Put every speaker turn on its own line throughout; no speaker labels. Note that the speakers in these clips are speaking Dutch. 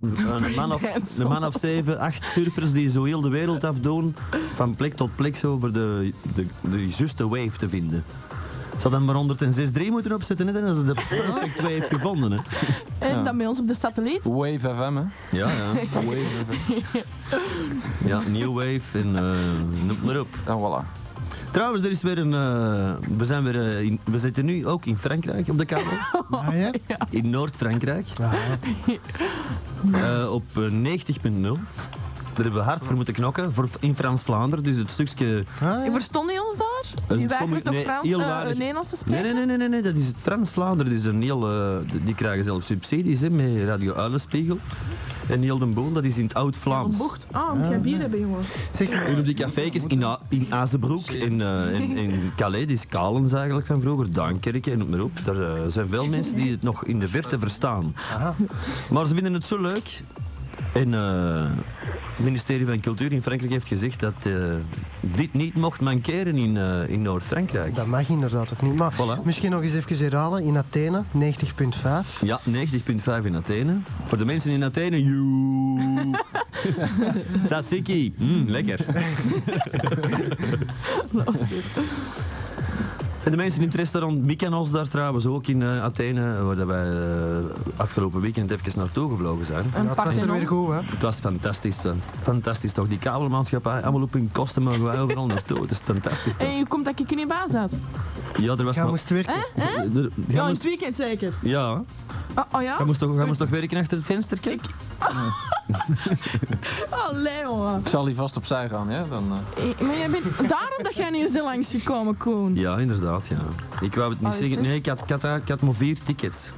Een man, of, een man of zeven, acht surfers die zo heel de wereld afdoen, van plek tot plek zo voor de, de, de juiste wave te vinden. Ze hadden maar 106.3 moeten opzetten, hè? dan hadden ze de perfect wave gevonden. Hè?
En dan bij ons op de satelliet.
Wave FM, hè?
Ja, ja.
Wave FM.
Ja, New Wave en eh, noem het maar op.
En voilà.
Trouwens, er is weer een... eh, we, zijn weer, eh, in- we zitten nu ook in Frankrijk op de kabel.
Ah, ja?
In Noord-Frankrijk.
Ja.
Eh, op eh, 90.0. Daar hebben we hard voor moeten knokken, voor, in Frans-Vlaanderen. Dus het stukje...
Ah, ja.
Verstond je ons daar?
Een
U
sommige-
weigert toch
nee,
Frans,
heel
eh,
weinig.
Nederlands te
Nee,
spreken?
nee, nee, nee, nee, nee, dat is het Frans-Vlaanderen. Dat is een heel, eh, d- die krijgen zelfs subsidies hè, met Radio Uilenspiegel. En heel den boel, dat is in het
Een
Oud-Vlaams.
bocht. Ah, moet jij bier hebben, jongen?
Zeg maar.
En op die cafékes in, A- in Azenbroek en eh, in, in Calais, die Kalens eigenlijk van vroeger, Duinkerken en noem maar op. Daar eh, zijn veel mensen die het nog in de verte verstaan.
Aha.
Maar ze vinden het zo leuk. En eh, het ministerie van Cultuur in Frankrijk heeft gezegd dat eh, dit niet mocht mankeren in, eh, in Noord-Frankrijk.
Dat mag inderdaad ook niet. Maar
Voilà.
misschien nog eens even herhalen. In Athene 90.5.
Ja, 90.5 in Athene. Voor de mensen in Athene, joe. Tzatziki, mm, lekker. En de mensen in het restaurant Mykonos daar trouwens ook in eh, Athene, waar dat wij eh, afgelopen weekend even naartoe gevlogen zijn.
Ja,
Een
het was er weer
pakje
goed, hè?
Het was fantastisch, man. fantastisch toch? Die kabelmaatschappij, allemaal op hun kosten mogen wij overal naartoe. Het is fantastisch
En
toch?
je komt dat ik in je baas zat.
Ja, er was
Jij
maar-
moest werken.
Er- er-
Ja,
Jij
in
moest-
het weekend zeker.
ja,
Ah, oh ja?
jij moest toch- jij moest toch werken achter het venster, kijk?
Allee, jongen.
Ik zal die vast opzij gaan, ja? Dan, eh.
Eh, Maar jij bent... Daarom dat jij niet zo langs gekomen, Koen.
Ja, inderdaad, ja. Ik wou het niet
Oh, is
zeggen.
het?
Nee, ik had, ik, had, ik had maar vier tickets.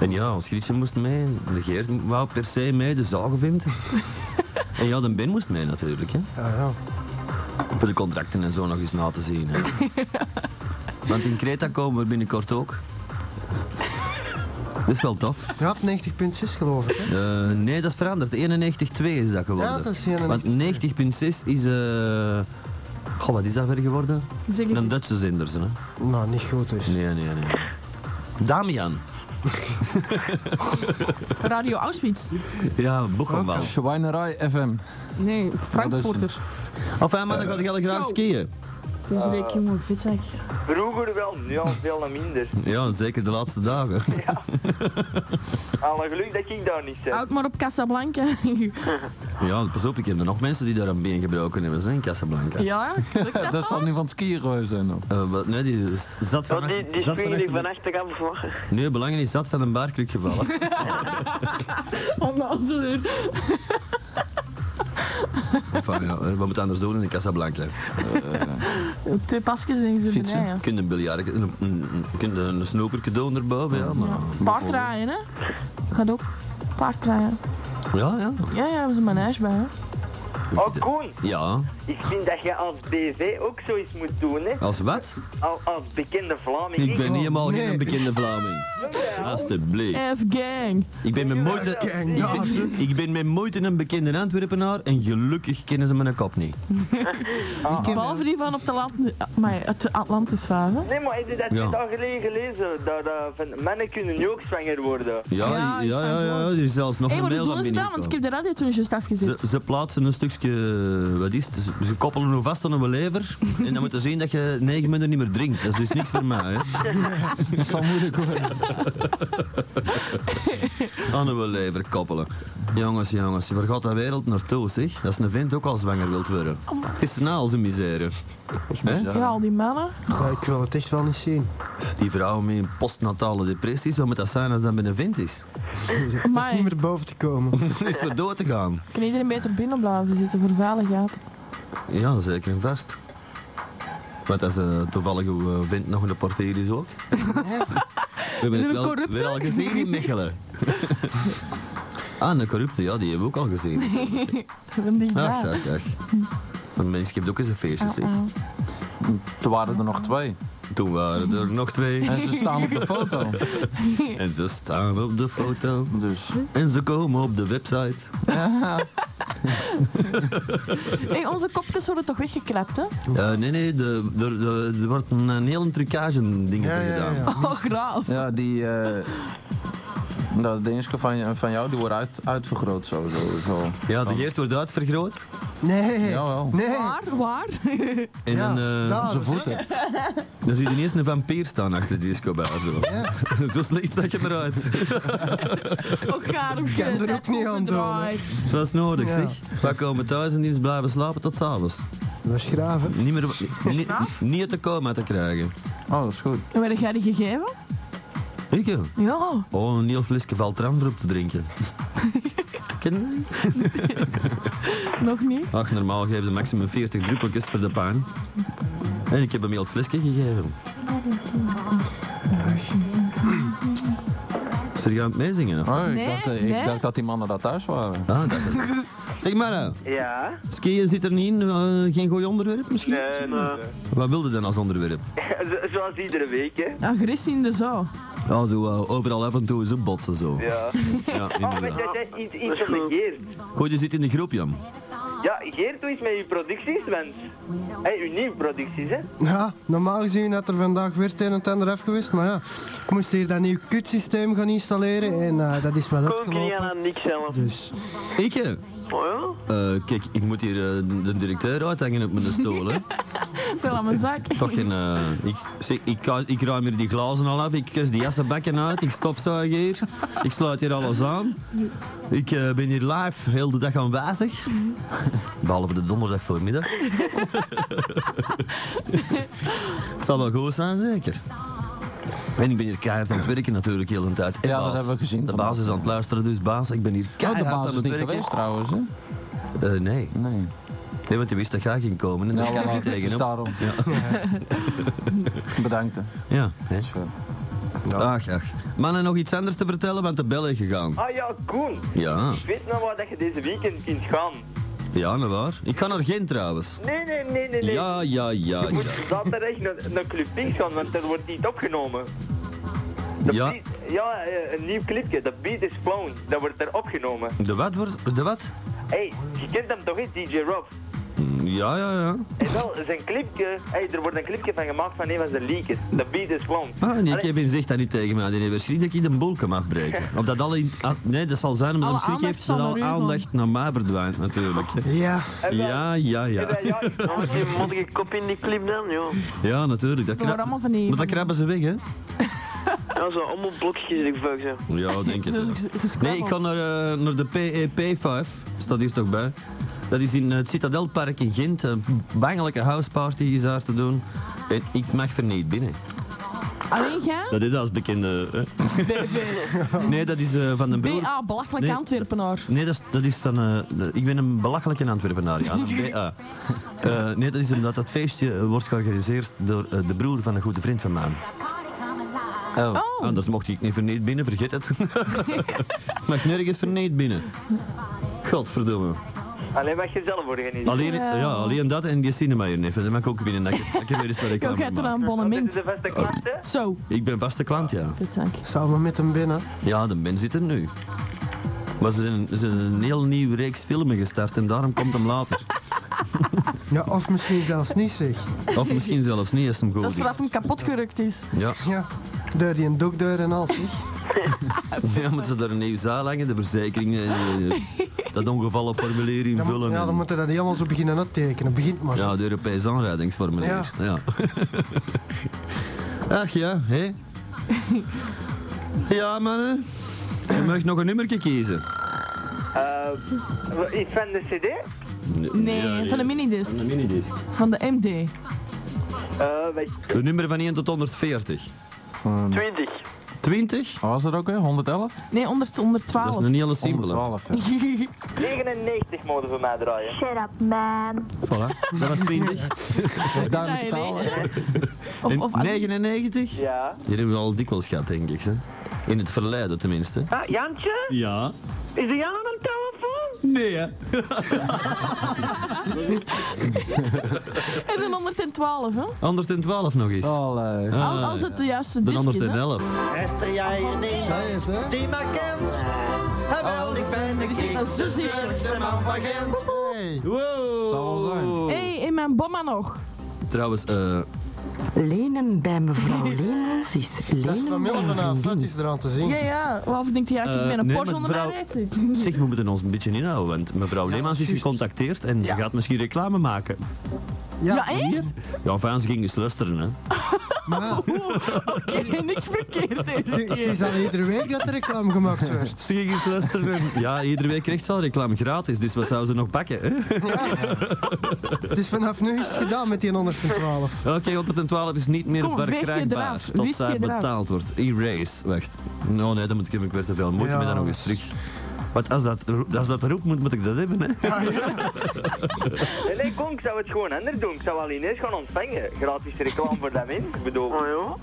En ja, ons Grietje moest mee, de Geert wou per se mee, de zaalgevind. en ja, de Ben moest mee natuurlijk, hè.
Ah, ja.
Voor de contracten en zo nog eens na te zien, hè. Want in Kreta komen we binnenkort ook. Dat is wel tof.
Ja, op 90.6 geloof ik. Hè?
Eh, nee, dat is veranderd. 91,2 is dat geworden.
Ja, dat is
Want 90,6 is... eh Goh, wat is dat weer geworden?
Zeg het
Een
eens.
Duitse zender, hè.
Nou, niet goed dus.
Nee, nee, nee. Damian.
Radio Auschwitz.
Ja, Buchenwald.
Schweinerij FM.
Nee, Frankfurter.
Enfin, eh, maar dan ga ik heel graag
Zo.
skiën.
Deze week, jongen, vet zeg.
Vroeger wel, nu al veel minder.
Ja, zeker de laatste dagen.
Alle geluk dat ik daar niet zit.
Houd maar op Casablanca.
Ja, pas op, ik heb er nog mensen die daar een been gebroken hebben, hè, in Casablanca.
ja, lukt dat,
Dat zal
dan?
nu van het skiën geweest zijn. hoor.
Eh, wat- nee, die s- zat van...
Want Oh, die, die
zat
springen die
achter
van achter af van.
de- Nee, belangrijk is zat van een baarkruk gevallen.
Onnozeler.
enfin, ja, eh, wat moet anders doen in Casablanca?
Twee pasjes en ze
Fietsen.
erbij, ja.
Je kunt een biljart, een, een, een- kunt een snoekerke doen erboven, ja. Maar,
Ja. Paardrijden, hè? Gaat ook. Paardrijden.
ja, ja.
Ja, ja, we zijn mijn huis bij, hè?
Oh Koen,
Ja,
ik vind dat je als BV ook zoiets moet doen, hè.
als wat?
Al, als bekende Vlaming.
Oh. Ik ben helemaal geen
nee.
bekende Vlaming. Alsjeblieft.
F-gang.
Ik ben met moeite...
Kijk,
Ik
daar,
ben, ik ben met moeite een bekende Antwerpenaar en gelukkig kennen ze mijn kop niet.
Ah.
Behalve die van op de land... Maar het Atlantis varen.
Nee, maar heb je dat
Ja.
twee dagen geleden gelezen? Dat eh, van, mannen kunnen nu ook zwanger worden.
Ja, ja,
Ja, iets
ja,
van
ja,
gewoon.
er is zelfs nog
Hé, hey,
een
maar
mail
hoe doen
dat
ze dat? Want ik heb
binnenkwam.
de radio toen juist afgezet.
Ze, ze plaatsen een stukje, wat is het, ze- ze koppelen hem vast aan een lever en dan moeten ze zien dat je negen minuten niet meer drinkt. Dat is dus niks voor mij. Hè.
Dat zal moeilijk worden.
Aan een lever koppelen. Jongens, jongens, waar gaat dat wereld naartoe zeg? Als een vent ook al zwanger wilt worden. Het is na als een misère. Hè?
Ja, al die mannen.
Ja, ik wil het echt wel niet zien.
Die vrouwen met een postnatale depressies, wat moet dat zijn als dat bij een vent is?
Het is
Maar
niet meer boven te komen.
Dat is voor dood te gaan.
kan iedereen beter binnen blijven zitten voor veiligheid.
Ja, zeker en vast. Want als ze toevallig uw eh, vent nog een portier is ook. We hebben
Is
het wel,
het corrupte?
wel al gezien in Mechelen. ah, een corrupte, ja, die hebben we ook al gezien.
Van
Ah,
die
Ach,
ja. Oh,
ach, ach. Een mens geeft ook eens een feestje, zeg.
Toen waren er nog twee.
Toen waren er nog twee.
En ze staan op de foto.
En ze staan op de foto.
Dus.
En ze komen op de website.
Hey, onze kopjes worden toch weggeklapt, hè?
Eh, nee, nee, de- de- de- er wordt een, een hele trucage dingen
Ja,
voor
ja,
gedaan.
ja.
Oh, graaf.
Ja, die. eh, Dat de eerste van, je- van jou die wordt uit, uitvergroot zo. zo, zo.
Ja, de Geert wordt uitvergroot.
Nee.
Jawel.
Nee.
Waar, waar?
En
Ja,
een, eh,
daar.
Zijn voeten.
dan zie je ineens een vampier staan achter de discobar. Zo. zo slecht zag je hem eruit.
Ook gaar op
kan er ook niet aan doen, hè.
Dat was nodig,
Ja.
zeg. Wij komen thuis in dienst blijven slapen tot s'avonds.
Dat is graven.
Niet meer... ni- niet uit de coma te krijgen.
Oh, dat is goed.
En werd jij die gegeven?
Ik, joh.
Ja.
Oh, een heel flesje Valtran voor op te drinken. Ken je dat niet?
Nog niet?
Ach, normaal geven ze maximum 40 druppeltjes voor de pijn. En ik heb hem heel het flesje gegeven. Is er gaan het meezingen? of?
Oh, ik,
Nee,
dacht, eh,
nee.
ik dacht dat die mannen dat thuis waren.
Ah, dat Zeg maar, nou,
Ja?
skiën zit er niet in, eh, geen goed onderwerp misschien?
Nee, nee.
Wat wilde dan als onderwerp?
Zo- Zoals iedere week, hè?
Agressie in de zou.
Ja, zo eh, overal af en toe eens een botsen zo.
Ja.
Ja,
Oh, maar
inderdaad.
dat is iets, iets van de Geert.
Goed, je zit in de groep, Jan.
Ja, Geert, hoe is het met je producties, mens? Hé, uw nieuwe producties, hè?
Ja, normaal gezien had er vandaag weer het een en het ander af geweest, maar ja, ik moest hier dat nieuw kutsysteem gaan installeren en eh, dat is wel uitgelopen.
niks zelf.
Dus
Ik, hè?
Oh
Eh, kijk, ik moet hier eh, de, de directeur uithangen op mijn stoel, hè.
Wel aan mijn zak.
Toch geen... eh, ik, zeg, ik, ka- ik ruim hier die glazen al af, ik kus die jassenbakken uit, ik stofzuig hier, ik sluit hier alles aan. Ik eh, ben hier live, heel de dag aanwezig. Behalve de donderdag voormiddag. Het zal wel goed zijn, zeker. En ik ben hier keihard aan het werken natuurlijk heel de tijd. En
Ja, dat
baas.
hebben we gezien
De baas
vandaag.
is aan het luisteren, dus baas, ik ben hier
Ja, Oh, de
keihard aan
baas is
het
niet
werken.
geweest trouwens. Hè?
Eh, nee.
Nee.
nee, want je wist dat jij ging komen en daar
Nou,
ging ik
voilà,
niet
het is
tegenop.
daarom. Bedankt. hè. Dus, eh,
Ja, hè.
Zo.
Ach, ach. Ah, Mannen, nog iets anders te vertellen, want de bel is gegaan.
Ah ja, Koen.
Ja,
Ik weet nou waar dat je deze weekend kunt gaan.
ja, nou waar. Ik ga naar Gent trouwens.
Nee, nee, nee, nee, nee.
Ja, ja, ja,
Je moet
ja.
zaterdag naar, naar Club Pink gaan, want er wordt niet opgenomen. De
Ja.
beat- ja, eh, een nieuw clipje. De beat is flown. Dat wordt er opgenomen.
De wat wordt... De wat?
Hé, je kent hem toch niet, DJ Rob?
Mm, Ja, ja, ja.
En wel, zijn clipje, hey, er wordt een clipje van gemaakt van een van zijn leakers. De beat is gewoon.
Ah, nee,
Allee,
Kevin zegt dat niet tegen mij. Die heeft schrik dat ik de boel kan afbreken. Of dat alle... in- ah, nee, dat zal zijn omdat
Alle
hij schrik
aandacht
heeft
zal
dat
naar
al
u gaan.
aandacht naar mij verdwijnt natuurlijk.
ja,
en wel-
Ja, ja,
en
ja.
wel, ja, ik-
Dan moet je moddige kop in die clip dan, joh.
Ja, natuurlijk. Dat
Dat wordt
krab...
allemaal van die...
Maar dat krabben ze weg, hè?
Ja, zo allemaal blokjes in de vuik, zo.
Ja, denk het.
Dus
wel.
ik- gescrabbeld.
Nee, ik ga naar, eh, naar de PEP5. Staat hier toch bij. Dat is in eh, het Citadelpark in Gent. Een bangelijke houseparty is daar te doen. En ik mag er niet binnen.
Alleen jij?
Dat is als bekende... hè. Nee, dat is eh, van een broer...
BA, ah, belachelijk
Nee.
Antwerpenaar.
Nee, dat is, dat is van... eh, de- ik ben een belachelijke Antwerpenaar, ja. Een BA. Eh, nee, dat is omdat dat feestje eh, wordt georganiseerd door eh, de broer van een goede vriend van mij.
Oh.
Oh,
Anders mocht ik niet verneed binnen, vergeet het. ik mag nergens verneed binnen. Godverdomme.
Alleen wat je zelf organiseert.
Alleen,
Ja.
ja, alleen dat en die cinema hier neef. Dat mag ik ook binnen. Dat ik, dat ik weer eens wat
ik ook
reclame
uit een
maak.
Want
abonnement.
dit is de beste klant, hè?
Zo.
Ik ben vaste klant, ja.
Dit dank je.
samen met hem binnen.
Ja, de mens zit er nu. Maar ze zijn, ze zijn een heel nieuw reeks filmen gestart en daarom komt hem later.
Ja, of misschien zelfs niet zeg.
Of misschien zelfs niet, als hem goed
Dat is
is.
voordat hem kapot gerukt is.
Ja.
Ja, door die doekdeur en al zeg.
ja, moeten ze daar een nieuw zaal hangen, de verzekering, eh, eh, dat ongevallenformulier
Dan moet-
invullen.
ja, dan
en-
moeten we dat niet allemaal zo beginnen uittekenen. Begint maar zo.
Ja, de Europese aanrijdingsformulier. Ja. Ach ja, hé. Ja, mannen. Je mag nog een nummertje kiezen.
Eh, iets van de CD?
Nee, van de minidisc.
Van de minidisc.
Van de MD.
Eh, wat-
De nummer van 1 tot 140.
20.
20?
Wat was dat ook, hè? 111?
Nee, onder,
Dat
112.
is een hele simpele.
112, ja.
99 mode voor mij draaien.
Shut up, man.
Voilà. Dat was 20.
Dat is
Ja,
duidelijk
in
taal, hè?
eentje. Of,
En
of
99? Die
Ja.
hebben we al dikwijls gehad, denk ik. Hè. In het verleden tenminste.
Ah, Jantje?
Ja.
Is er Jan aan de telefoon?
Nee, hè.
en een 112, hè?
112 nog eens.
Oh.
Allee.
Al-
Ah,
als het de juiste
de
disc is, hè?
111.
Luister jij je niet,
Zij is, hè?
die maar kent.
Oh,
Jawel, ik ben de
Die zit als Susie.
kikste man van Gent.
Wow.
Zal wel zijn.
Hé, hey, in mijn bomma nog.
Trouwens, eh,
Lenen bij mevrouw Leemans is lenen
Dat is van
bij
Mille
een
vanavond, dat
vriendin.
is eraan te zien.
Ja, ja. Of denkt hij, ja, ik
Eh,
ben een
nee,
Porsche
maar
onder mijn reet.
mevrouw- Zeg, we moeten ons een beetje inhouden, want mevrouw Leemans is
juist.
gecontacteerd en ze
Ja.
gaat misschien reclame maken.
Ja,
Ja, echt?
Ja, fans ging eens luisteren, hè.
maar
Niks verkeerd deze
het
keer.
is al iedere week dat er reclame gemaakt wordt.
Ze ging eens luisteren en- Ja, iedere week krijgt ze al reclame gratis, dus wat zou ze nog pakken, hè?
Dus vanaf nu is het gedaan met die 112.
Oké, 112 is niet meer
Kom, veeg je
verkrijgbaar
eraf.
tot
Wist je
zij
eraf.
betaald wordt. Erase, wacht. No, nee, dan moet ik hem, ik werd te veel moeite
Ja,
met dat nog eens
dat
terug. Want als dat, roep- als dat roept, moet, moet ik dat hebben, hè?
Nee, nee, kom, ik zou het gewoon anders doen. Ik zou wel ineens gaan ontvangen. Gratis reclame voor dat in. Ik bedoel,
Oh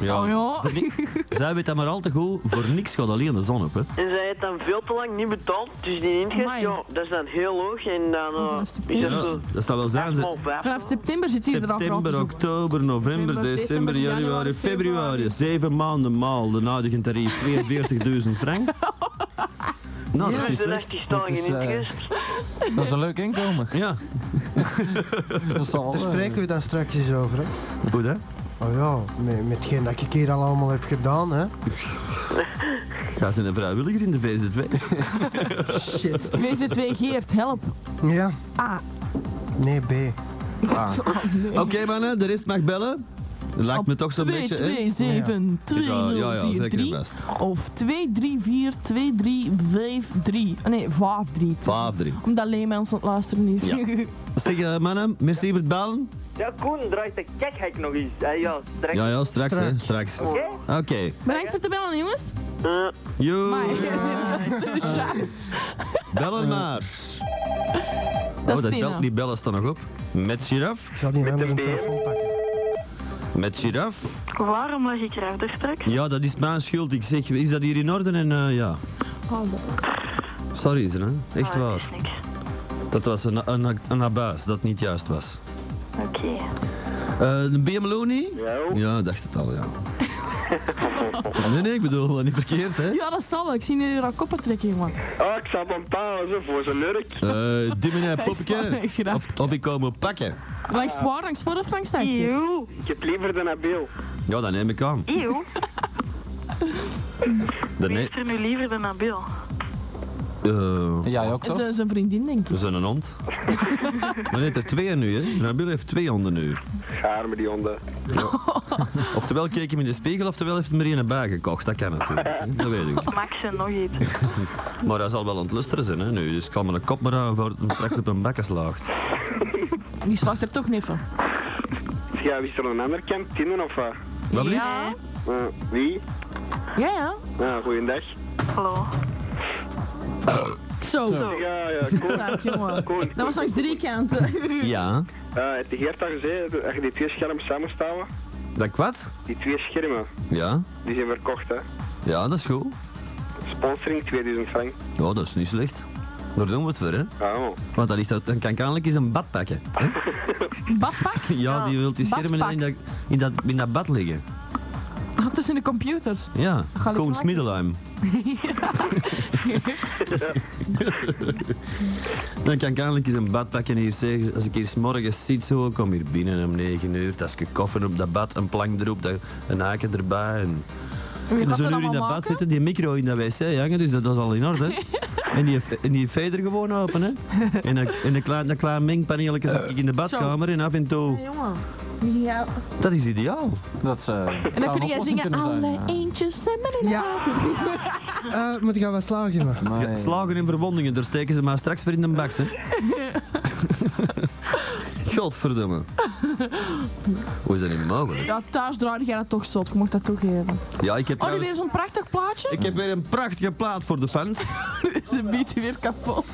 ja.
Oh ja.
Voor ni- Zij weet dat maar al te goed, voor niks gaat alleen de zon op, hè?
En zij heeft dan veel te lang niet betaald, dus die ingeeft,
Amai.
ja, dat is dan heel hoog en dan eh,
Vanaf
is
september.
dat
Ja,
zo
dat zou wel zijn. ze-
8,5 vijf.
Vanaf september zit hij er al gratis
September,
op.
oktober, november,
November,
december,
december,
januari,
januari,
februari.
februari.
Zeven maanden maal de huidige tarief 42.000 frank. Nou, dat is niet
Dus de
slecht.
rest is staan
Het is,
in
eh,
interest.
Dat is een leuk inkomen.
Ja,
Dat zal,
Daar
eh,
spreken we dan straks eens over. Hè?
goed hè?
Oh ja, met, met hetgeen dat ik hier al allemaal heb gedaan. Hè?
Ga ze een vrijwilliger in de VZW?
Shit.
VZ2 Geert, help.
Ja.
A.
Nee, B.
ah,
Oké mannen, de rest mag bellen. Dat lijkt me toch zo'n beetje, hè?
227
Ja, ja, ja, zeker
2043
best.
of 234 2353. Ah, Nee, 53.
5-3.
Omdat Leemans aan het luisteren is.
Ja. Zeg eh, mannen, merci voor het bellen.
ja, Koen draait de kekhek nog eens. Hey, ja, direct.
Ja, ja, straks hè, straks.
Oké?
Oké.
Bedankt voor te bellen, jongens.
Eh,
Joe,
Maar jij bent echt enthousiast.
bellen maar.
Dat
oh,
is
dat
Tina.
bel, die bellen staan nog op. Met giraf,
Ik zal die handen een
B.
telefoon pakken.
met giraf.
Waarom lag ik erachter straks?
Ja, dat is mijn schuld. Ik zeg, is dat hier in orde? En eh, ja. Sorry, ze, hè? Echt
Ah, dat
waar.
is niks.
Dat was een, een, een abuis dat niet juist was.
Oké.
Eh, De BMLO niet? Ja, dacht het al, ja. nee, nee, ik bedoel dat niet verkeerd, hè?
Ja, dat zal wel. Ik zie jullie al koppen trekken, jongen.
Ah, ik zou van pauze voor zijn nurk.
Eh, die meneer
Hij is wel
Poppeke.
een grap.
Of, of ik komen pakken.
Langs het waar, langs voor of langs het achter?
Eeuw.
Ik heb liever de Nabil.
Ja, dat neem ik aan.
Eeuw.
Dat
Wie
nee.
is er nu liever dan Nabil?
eh,
jij ook toch?
Zijn- Zijn vriendin, denk
we
ik.
zijn een hond. Maar net er twee nu, hè? Nabil heeft twee honden nu.
Gaar met die honden.
Oftewel keek hem in de spiegel, oftewel heeft hem er een bij gekocht. Dat kan natuurlijk. hè. Dat weet ik.
Max en nog iets.
Maar hij zal wel aan het lusteren zijn hè, nu, dus ik kan me een kop maar houden voordat hij straks op een bekken slaagt.
Die slaagt er toch niet van.
Ja, wie is er een ander kamp? Tinnen of wat?
Wat blieft?
Ja,
wie?
ja. ja.
Nou, goeiedag.
Hallo.
Zo.
Ja, ja, Koen.
Zaak, jongen.
Koen.
Dat was langs drie kanten.
Ja.
Eh, heeft de Geert al gezegd, als je die twee schermen samenstouwen,
Dat ik wat?
die twee schermen,
Ja.
die zijn verkocht hè.
Ja, dat is goed.
Sponsoring 2000 frank.
Ja, dat is niet slecht. Daar doen we het voor, hè.
Ah, oh.
Want dan, ligt dat, dan kan ik eindelijk eens een bad pakken. hè.
Badpak?
Ja, die wil die schermen
badpak.
in dat, in, dat, in dat bad liggen.
Ah, tussen de computers.
Ja,
Ga ik
Koons
maken?
Middelheim. Dan kan ik eindelijk eens een bad pakken hier. Zeg. Als ik hier 's morgens zit, zo, kom hier binnen om 9 uur. Dat is gekoffer op dat bad, een plank erop, dat- een haken erbij. En...
En Wie
We
gaat
zullen
dat
uur in dat
allemaal
bad
maken?
zitten, die micro in dat wc hangen, dus dat, dat is al in orde. En die, en die fader gewoon open, hè. En een, en een klein, een klein mengpaneeltje zat ik in de badkamer en af en toe...
Ja, jongen. Ja.
Dat is ideaal.
Dat is, eh, zou
En
een
dan kun jij
oplossing
zingen
kunnen zijn,
alle
ja.
eentjes zijn maar in
Ja. Eh, moet ik gaan wat slagen, man?
Nee.
Ja, slagen en verwondingen, daar steken ze maar straks weer in de bak, hè. Godverdomme. Hoe is dat niet mogelijk?
Ja, thuis draaide jij dat toch zot, je mocht dat toegeven.
Ja, dus- ik heb
Oh, nu
trouwens-
weer zo'n prachtig plaatje?
Ik heb weer een prachtige plaat voor de fans.
Ze biedt die weer kapot.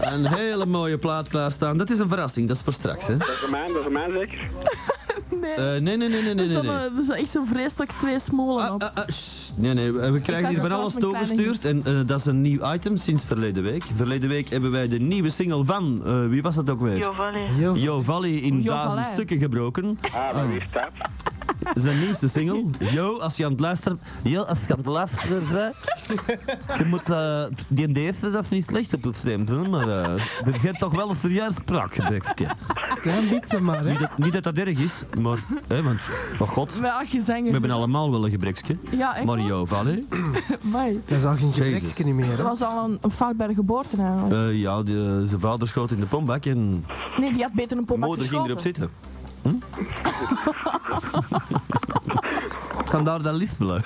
Een hele mooie plaat klaarstaan. Dat is een verrassing, dat is voor straks, hè.
Dat is een man, dat is een man zeker.
Nee.
Eh, nee, nee, nee, nee,
Eh,
nee,
er
nee.
stonden er zijn eh, echt zo'n vreselijk twee smolen
Ah,
op.
ah, ah, sst. nee, nee, we- we krijgen
had
hier van
ook wel
alles
eens een kleine
toegestuurd. En eh, dat is een nieuw item sinds verleden week. Verleden week hebben wij de nieuwe single van, eh, wie was dat ook weer?
Giovanni.
Jo.
Jo Valley in
Jo
duizend
Valley.
stukken gebroken.
Ah, bij wie staat?
zijn nieuwste single. Yo, als je aan het luisteren... Yo, als je aan het luisteren bent... Je moet... eh, die en deze, dat is niet slecht op het stem, doen, maar... eh, er gaat toch wel een serieus spraakje, denk ik.
Klein beetje maar, hè.
Niet dat, niet dat dat erg is, maar... Hè, want, oh god, we
Met acht gezangers.
hebben allemaal wel een gebrekje.
Ja, echt.
Maar yo, Valle...
Amai.
Dat is al geen
Jezus.
gebrekje niet meer,
Dat
hè.
was al een, een fout bij de geboorte eigenlijk.
eh, ja, de, zijn vader schoot in de pombak en...
Nee, die had beter een pompa
moeder Eh, ging erop zitten. Hm? Vandaar dat liefbelui.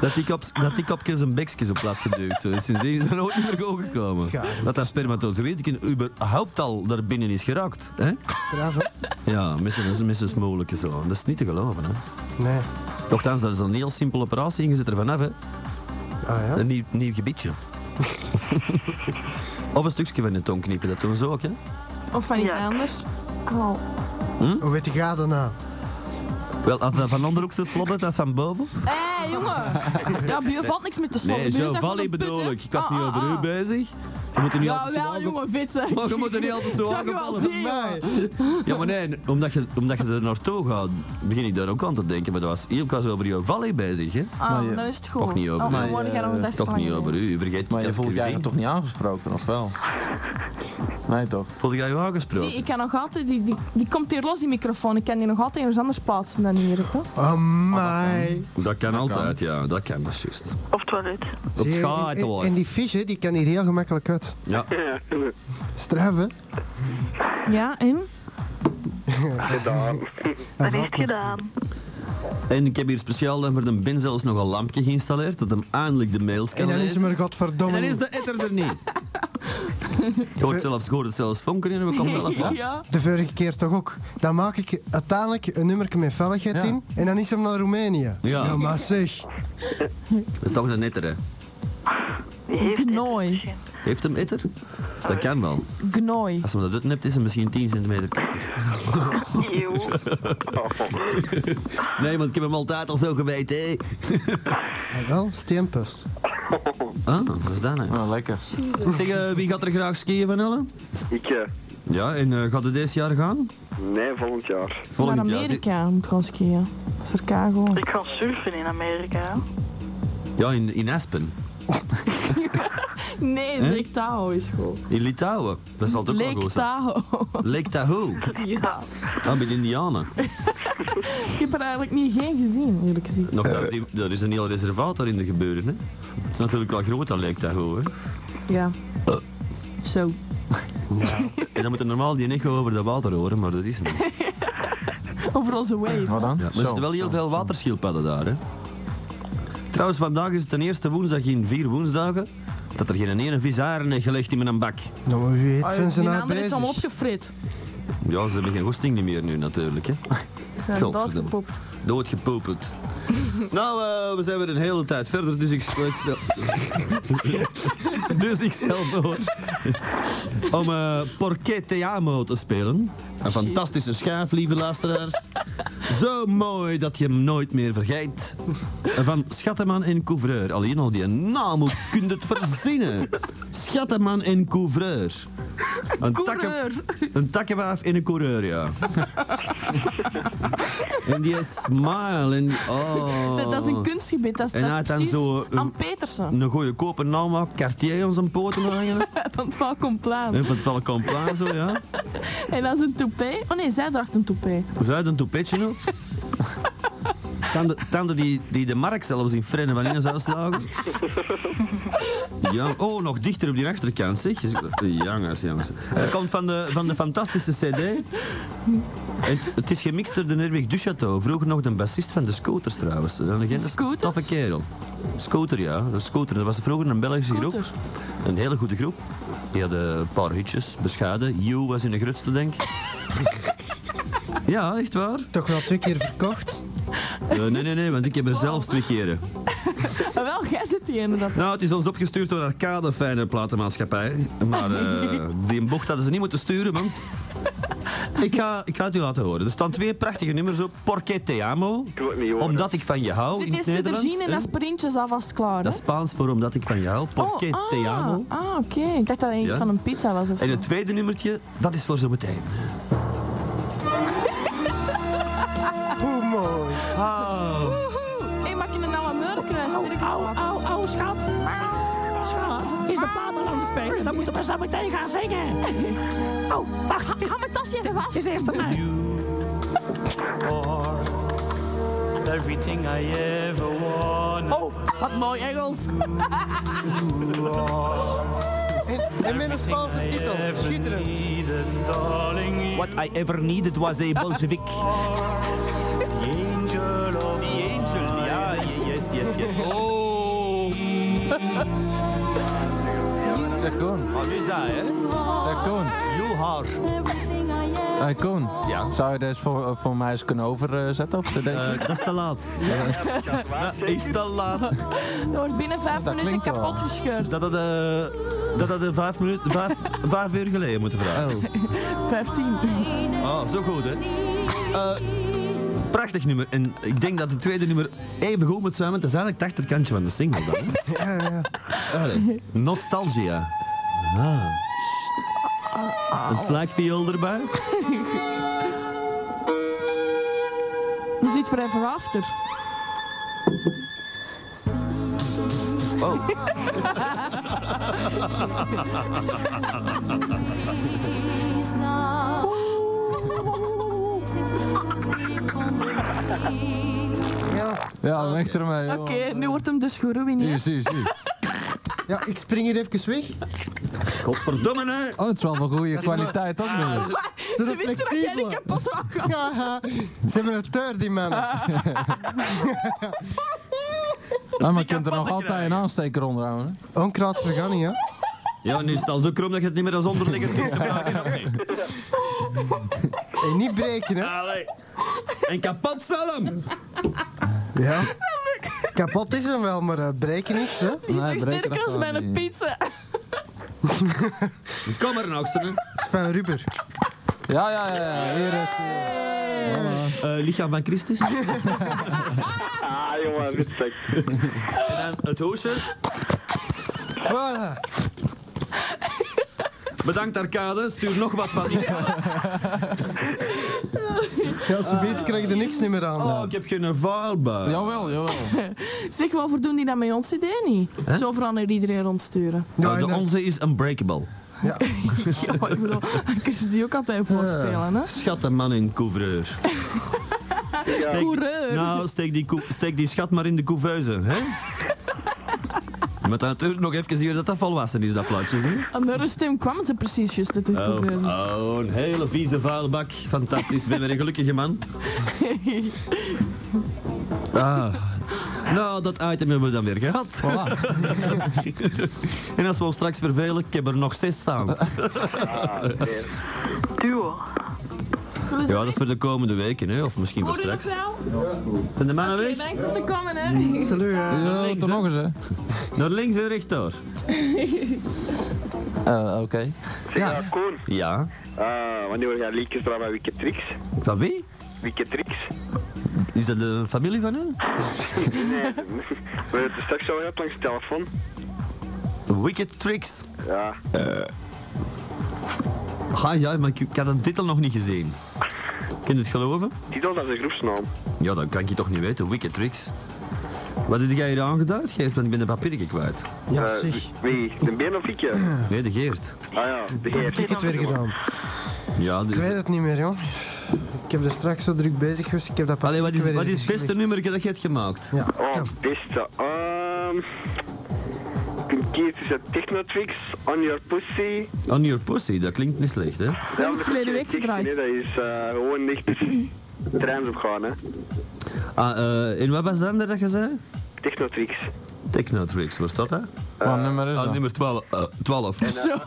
dat die kop- dat die kopjes en bekjes op plaats geduwd. Zo. Sindsdien is er nooit meer gewoon gekomen. Dat dat spermatozoïde überhaupt al daar binnen is geraakt. Hè?
Straf, hè.
Ja, met zijn- met zijn smolijke zo. Dat is niet te geloven. Hè?
Nee.
Nochtans, daar is een heel simpele operatie ingezet er vanaf. Hè?
Ah ja.
Een nieuw, nieuw gebiedje. of een stukje van de tong knippen, dat doen ze ook. Hè?
Of van iets
Ja.
anders. Oh.
Hoe weet je dat nou?
Wel, als dat van onderhoek zit, klopt dat van boven?
Hé, jongen! Ja, bij u valt niks meer te slopen.
Nee,
Bij u
zo
is echt
valley
van een put,
bedoel
hè.
ik. Ik was
Ah,
niet
ah,
over
ah.
u bezig. We moeten niet altijd zo
Jawel,
aange-
jongen, vitsen.
Maar je moet er niet altijd
Ik
zo
zag je wel
aangevallen.
zien, jongen.
Nee.
Ja, maar nee, omdat je, omdat je er naartoe gaat, begin ik daar ook aan te denken. Maar dat was, ik was over jouw valley bezig, hè?
Ah,
Maar je-
dan is het goed.
Toch niet over
Oh,
mij,
dan word
eh,
jij nog een test
Toch niet
langer.
over u. Vergeet
Maar je
dat ik
voelt
u zie.
je eigenlijk toch niet aangesproken, of wel? Nee, toch?
Voelde jij je
Zie,
aangesproken?
ik kan nog altijd, die, die, die komt hier los, die microfoon. Ik kan die nog altijd ergens anders plaatsen dan hier. Hoor.
Amai.
Dat kan altijd, ja. Dat kan, dat is juist.
Of toilet.
Op
Zie je,
schaar
en- En die vis, hè, die kan hier heel gemakkelijk uit.
Ja.
Straf, hè.
Ja, en?
Dat heeft gedaan.
En ik heb hier speciaal dan voor de bin zelfs nog een lampje geïnstalleerd, dat hem eindelijk de mails kan
En dan is
lezen.
hem er godverdomme
En dan is
niet.
de etter er niet. Je hoort, zelfs, je hoort het zelfs vonken in en we komen wel af.
Ja.
De vorige keer toch ook. Dan maak ik uiteindelijk een nummerke met velligheid
Ja.
in. En dan is hem naar Roemenië.
Ja.
maar zeg.
Dat is toch een etter, hè?
Gnooi.
Heeft hem etter? Dat kan wel.
Gnooi.
Als hem dat uitneemt, is hij misschien 10 centimeter korter.
Eeuw.
Nee, want ik heb hem altijd al zo geweten, hé.
En Ah, wel, steenpust.
Ah, wat is dat nou?
Nou, lekker.
Zeg, eh, wie gaat er graag skiën van Ellen?
Ik, eh,
Ja, en eh, gaat het deze jaar gaan?
nee, volgend jaar.
Naar
Volgend jaar. dit-
Amerika moet gaan skiën. Verkago.
Ik ga surfen in Amerika.
Ja, in, in Aspen.
Nee, Lake Tahoe is goed.
In Litouwen. Dat zal toch wel
Lake
goed zijn.
Tahoe.
Lake Tahoe.
ja.
Ah, bij de Indianen.
Ik heb er eigenlijk niet geen gezien, eerlijk gezien.
Eh.
Nog, dat die- er is een heel reservaat daarin te gebeuren, hè. Het is natuurlijk wel groot, dat Lake Tahoe, hè.
Ja. Zo.
En dan moeten normaal die echo over dat water horen, maar dat is niet. Ja,
Over onze wave.
Wat dan?
maar er zitten wel heel veel waterschildpadden daar, hè. Trouwens, vandaag is het de eerste woensdag in vier woensdagen dat er geen ene vis haren heeft gelegd in mijn bak.
Nou, maar wie weet
Ah,
zijn ze
Die
nou
andere is al
bezig.
opgefrit.
Ja, ze hebben geen goesting niet meer nu natuurlijk, hè.
Ze zijn
Godverdomme.
doodgepoept.
Doodgepopeld. nou, eh, we zijn weer een hele tijd verder, dus ik, ik stel... dus ik stel voor om eh Porqué Te Amo te spelen. Een fantastische schaaf, lieve luisteraars. Zo mooi dat je hem nooit meer vergeet. Van Schatteman en Couvreur. Alleen al die naam, hoe kun je het verzinnen? Schatteman en Couvreur. Een takken-
Coureur.
een takkenwaaf in een coureur, ja. en die smile en die... Oh.
Dat, dat is een kunstgebied. Dat,
En
dat
hij had
is
dan
precies
zo een-
aan Petersen.
Een goeie koper naam ook, Cartier om zijn poten hangen.
Van het Welkom Plan.
en van het Falcon Plan zo, ja.
En dat is een toupé. Oh nee, zij draagt een toupé.
Zou je een toepetje nog? Tanden, tanden die, die de markt zelfs in frennen van in zou slagen. Ja, oh, nog dichter op die achterkant, zeg. eh, Jongens, jongens. Dat komt van de, van de fantastische cd. En het- het is gemixt door de Herwig Duchateau. Vroeger nog de bassist van de Scooters, trouwens. Een legende-
Scooters?
Toffe kerel. Scooter, ja. Een Scooter. Dat was vroeger een Belgische groep.
Scooter.
Een hele goede groep. Die hadden een paar hitjes, beschaden. You was in de grootste, denk ik. Ja, echt waar.
Toch wel twee keer verkocht.
Eh, nee, nee, nee, want ik heb er zelf twee keren.
Ah, wel, jij zit die ene dat.
Nou, het is ons opgestuurd door Arcade Fijne Platenmaatschappij. Maar eh, die bocht hadden ze niet moeten sturen, want... Ik ga, ik ga het u laten horen. Er staan twee prachtige nummers op. Porque te amo.
Ik wil het niet horen.
Omdat ik van je hou
Zit
in het
eerst de
Nederlands.
regine en
hè.
dat is printjes alvast klaar.
Dat is
hè?
Spaans voor omdat ik van je hou. Porque
oh,
te
ah,
amo.
Ah, oké. Ik dacht dat het iets
Ja.
van een pizza was of zo.
En het tweede nummertje, dat is voor zometeen. Oh.
Hé, maak je een alle meurkruis?
Au, au, au, schat. Schat, is de plaat al aan het spelen? Dan moeten we zo meteen gaan zingen. Oh, wacht.
Ga mijn tasje even
Het
vast.
is eerst aan mij.
Everything I ever want.
Oh, wat mooi Engels.
In, in mijn Spaanse titel. Schitterend.
Needed, darling, you
What I ever needed was a Bolshevik.
the angel of the angel.
Ja, yes, yes, yes. Oh.
Zeg Koen,
Maar nu zei hè?
zeg Koen.
You are.
Hey Koen,
Ja.
zou je deze voor, voor mij eens kunnen overzetten op de
Eh, dat is te laat. Dat is te laat.
Je wordt binnen vijf
Dat
minuten
klinkt wel.
kapot gescheurd.
Dat had, eh, dat had eh, vijf, minuten, vijf, vijf uur geleden moeten vragen.
Oh.
Vijftien.
Oh, zo goed, hè? Eh, prachtig nummer. En ik denk dat het tweede nummer even goed moet zijn, want dat is eigenlijk het achterkantje van de single dan. Hè?
Ja, ja, ja.
Allee. Nostalgia. Ah. Een slaakviool erbij.
Je ziet Forever After.
Oh.
Ja.
Ja, weg ermee.
Oké,
joh.
nu wordt hem dus
Hier,
geruineerd.
zie, zie.
ja, ik spring hier even weg.
Godverdomme, hè?
Oh, het is wel van goede kwaliteit, toch? jongens?
Ze
Ze
zijn
wisten dat jij niet
flexibel.
kapot zou gaan.
Ja, ze hebben een teur, die mannen.
Ja, maar je kunt er nog
kapotte
altijd een
krijgen.
aansteker onder houden. hè?
Onkruid vergaan, ja.
Ja, nu is het al zo krom dat je het niet meer als onderligger kunt gebruiken. of niet?
En niet breken, hè.
Allee. En kapot stellen!
Ja. Kapot is hem wel, maar eh, breken niks, hè.
Die is
Nee,
toch
breken
sterker
dat
als
gewoon
mijn
niet.
pizza.
Kom er nou, Sven.
Het is van rubber.
Ja, ja, ja, ja. Hier is
Eh, lichaam van Christus. en
Ah, jongen, respect.
dan het hoesje.
Voilà.
Bedankt Arcade, stuur nog wat van die.
Ja, als je beter krijg je er niks niet meer aan.
Oh, ik heb geen vuilbui.
Jawel, jawel.
Zeg, waarvoor doen die dat met ons idee niet? Zo vooral naar iedereen rondsturen.
Nou, de
en dan-
onze is unbreakable.
Ja, maar ik bedoel, dan kunnen ze die ook altijd voorspelen, hè?
Schat een man in couvreur. Steek-
Coureur.
Nou, steek die, koe- steek die schat maar in de couveuse, hè? Maar dan natuurlijk nog even hier dat dat volwassen is, dat plaatje, hè?
Andere stem kwamen ze precies juist uit de
Oh,
couveuse.
oh, een hele vieze vuilbak. Fantastisch, ben weer een gelukkige man. Ah. Nou, dat item hebben we dan weer gehad.
Voilà.
En als we ons straks vervelen, ik heb er nog zes staan.
Duo.
Ja, dat is voor de komende weken, hè? of misschien voor
Hoor je nog
straks. Mm.
wel?
Zijn de mannen weg?
Bedankt voor te komen, hè?
Salut, hè.
Ja,
links,
toch
hè?
nog eens, hè?
Naar links en rechtdoor.
Eh, Oké.
Ja, Koen.
Ja.
Eh, wanneer ga je liedjes draaien bij Wikitrix?
Van wie?
Wikitrix?
Is dat de familie van u?
Nee, we hebben het straks al gehad langs de telefoon.
Wicked Tricks.
Ja.
Ah ja, maar ik, ik had een titel nog niet gezien. Kun je het geloven?
Titel, dat is een groepsnaam.
Ja, dan kan ik je toch niet weten. Wicked Tricks. Wat heb jij hier aangeduid, Geert? Want ik ben de papiertje kwijt.
Ja,
Eh,
zeg.
wie? De been of ik? ja?
Nee, de Geert.
Ah ja, de
Heb ik het weer gedaan?
Ja,
Ik weet
dus...
het niet meer, joh. Ik heb er straks zo druk bezig geweest. Ik heb dat
Allee, wat is,
weer
wat is
eens
het beste
gelegd.
nummer dat je hebt gemaakt?
Ja,
Oh,
kan.
beste. Ehm. ik ben kiezen tussen Technotrix, On Your Pussy.
On Your Pussy, dat klinkt niet slecht, hè?
Ja,
heb ik verleden week gedraaid.
Nee, dat is eh, gewoon echt treins opgaan, hè.
Ah, eh, en wat was dan dat je zei?
Technotrix.
Technotricks, waar staat dat?
Wat nummer is dat?
nummer 12. eh, 12.
Unknown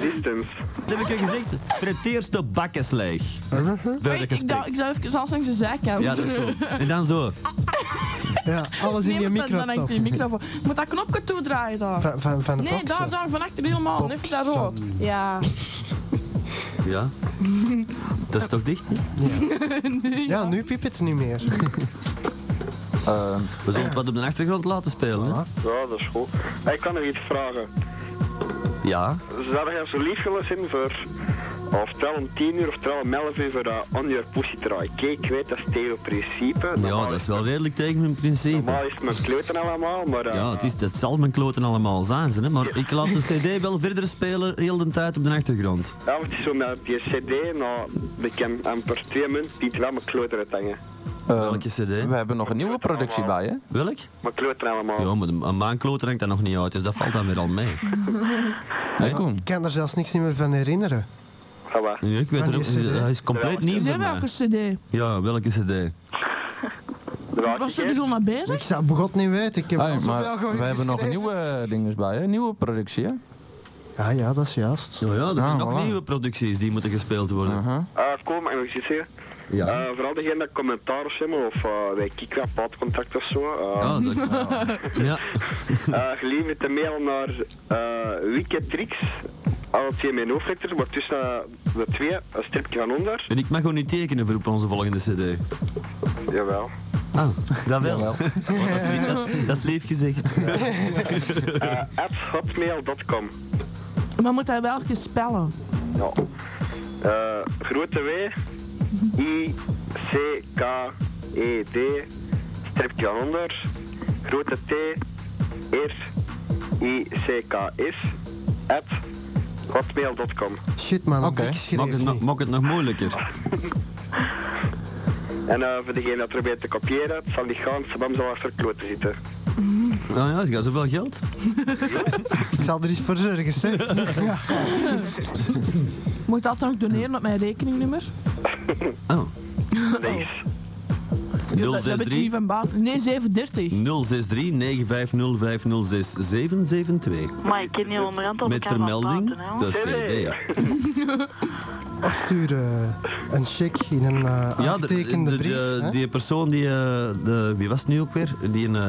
Distance.
Dat heb ik je gezegd. Fretteerst de bakkes leeg.
Mhm.
Hey, ik, zou- ik zou even zelfs langs de zijkant.
Ja, dat is goed. En dan zo.
ja alles in je
Nee, want dan- dan hangt
microtop.
die microfoon. Je Moet dat knopje toedraaien daar.
Van, van, van de
Nee,
boxen.
daar, daar, van achter helemaal. Even daar rood. Ja.
Ja. Dat is toch dicht?
Ja, nu piep het niet meer.
Eh,
We zullen het wat op de achtergrond laten spelen. hè?
Ja, dat is goed. Maar ik kan nog iets vragen.
Ja.
Zou jij zo lief willen zijn voor Oftewel om 10 uur, oftewel om 11 uur voor dat On Your Pussy Try. Kijk, ik weet, dat is tegen principe.
Ja, dat is wel redelijk tegen mijn principe.
Normaal is het mijn kleuter allemaal, maar... eh,
Ja, het, is, het zal mijn kloten allemaal zijn, ze, hè, maar ik laat de cd wel verder spelen heel de tijd op de achtergrond.
Ja, want het is zo met die cd, nou, ik kan amper twee munt die het wel mijn kleuter uithangen.
Welke cd? We hebben nog een nieuwe productie bij, hè? Welk?
Mijn kleuter allemaal.
Ja, maar de- aan mijn kloten hangt dat nog niet uit, dus dat valt dan weer al mee.
Ik kan er zelfs niks meer van herinneren.
Ja, ik weet
Van
er ook,
die CD.
hij is compleet nieuw voor mij.
welke cd?
Ja, welke cd?
Was ze er al mee bezig?
Ik zou begot niet weten. Ik heb
Hey,
al zoveel
maar
gehoord
we hebben nog
geschreven.
nieuwe dingen bij, hè? Nieuwe productie, hè?
Ja, ja, dat is juist.
Ja, er zijn
Ah,
nog
voilà.
nieuwe producties die moeten gespeeld worden.
Eh, kom, en ik zeggen.
Ja.
Eh, vooral degene dat commentaar hebben, of eh wij kikken, padcontact of zo. eh.
Ja, dat- Ja.
Eh, geleverd te mail naar eh Wikitrix, alle twee mijn hoofdletters, maar tussen eh, de twee een stripje van onder.
En ik mag gewoon niet tekenen voor op onze volgende cd.
Jawel.
Ah, dat wel. Oh, dat, is lief, dat, is, dat is lief gezegd.
Eh, at hotmail.com.
Maar moet hij welke spellen?
Ja. Eh, grote W, I, C, K, E, D, stripje van onder, grote T, R, I, C, K, S, at hotmail.com.
Shit man, ik
Maak, het
schreef
nog-
niet. Oh.
maak het nog moeilijker.
En eh, voor degene dat probeert te kopiëren, het zal niet gaan, Sabam zal achter kloten zitten.
Ah ja, ze gaat zoveel geld.
Ik zal er iets voor zorgen, zeg. Ja.
Moet dat dan ook doneren op mijn rekeningnummer?
Oh.
Nice.
Ja, dat, dat weet ik niet
063
van baat. Nee, 730.
063 950506772.
Maar ik ken niet onderhand op
Met
elkaar van
vermelding,
buiten, hè,
de
hoor.
CD, ja.
Of stuur eh, een cheque in een eh
Ja, de,
aangetekende
de-
brief.
de-
hè.
die persoon die, eh, de, wie was het nu ook weer, die een, eh,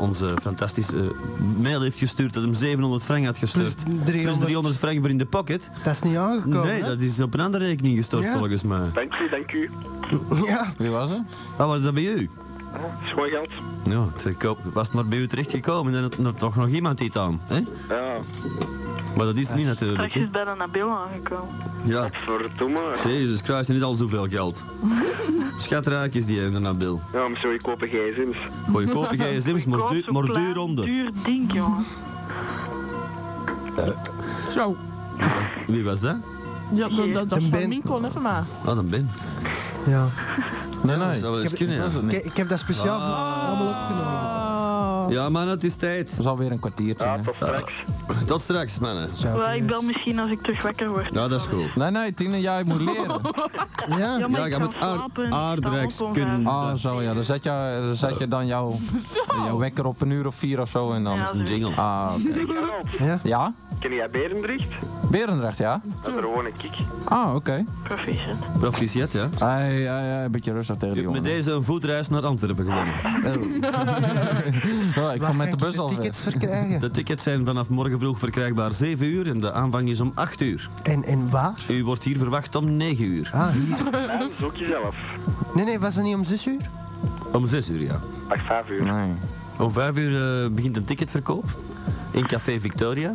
onze fantastische eh, mail heeft gestuurd dat hem 700 frank had gestuurd.
Plus 300.
frank voor in de pocket.
Dat is niet aangekomen,
Nee,
hè?
dat is op een andere rekening gestort
Ja.
volgens mij.
Dank u, dank u.
Ja.
Wie was het? Ah, was dat bij u?
Schoon geld.
Ja, ik zeg, koop- was het maar bij u terechtgekomen, dan had er toch nog iemand dit aan. Hè?
Ja,
Maar dat is niet natuurlijk.
Straks
Hè?
is bij de Nabil aangekomen.
Ja.
verdomme.
Jezus Christus, niet al zoveel geld. Schatraak is die ene Nabil.
Ja, maar sorry, kopen gsm's.
Goeie kopen gsm's, maar duur, maar duur onder.
Duur ding, jongen.
Zo.
Wie was dat?
Ja, dat, dat, dat is
Dan
van
ben-
Lincoln, even maar.
Ah, dan Ben.
Ja.
Nee, nee. Dat zou wel
Ik
eens
heb,
kunnen, ja.
ik, ik heb dat speciaal voor allemaal opgenomen.
Oh.
Ja, man, het is tijd. Dat is alweer een kwartiertje.
tot straks.
tot straks, mannen.
Wel, ik bel misschien als ik terug wakker word.
Ja, dat is cool.
Nee, nee, Tine, jij moet leren.
Ja,
Ja, maar ik
jij
ga eh,
moet
slapen, ik sta op om
aardrijkskunde.
vijf.
Ah, zo ja. Dan zet je, dan zet je dan jouw, jouw wekker op een uur of vier of zo en dan...
Ja, Dat is een
jingle.
Ah, oké.
Ja?
Ja?
Ken jij Berendrecht?
Berendrecht, ja?
Dat is er gewoon een kik.
Ah, oké.
Proficiat.
Proficiat, ja.
Hey, hey, hey, een beetje rustig
Je
tegen die
hebt met
jongen.
deze een voetreis naar Antwerpen gewonnen.
Oh, ik
Waar
vond met de
kan ik
bus al weg.
tickets verkrijgen.
De tickets zijn vanaf morgen vroeg verkrijgbaar 7 uur en de aanvang is om 8 uur.
En, en waar?
U wordt hier verwacht om 9 uur.
Ah, hier.
Ja, zoek jezelf.
Nee, nee, was dat niet om 6 uur?
Om 6 uur, ja.
Ach, vijf uur.
Nee.
Om 5 uur eh, begint een ticketverkoop in Café Victoria.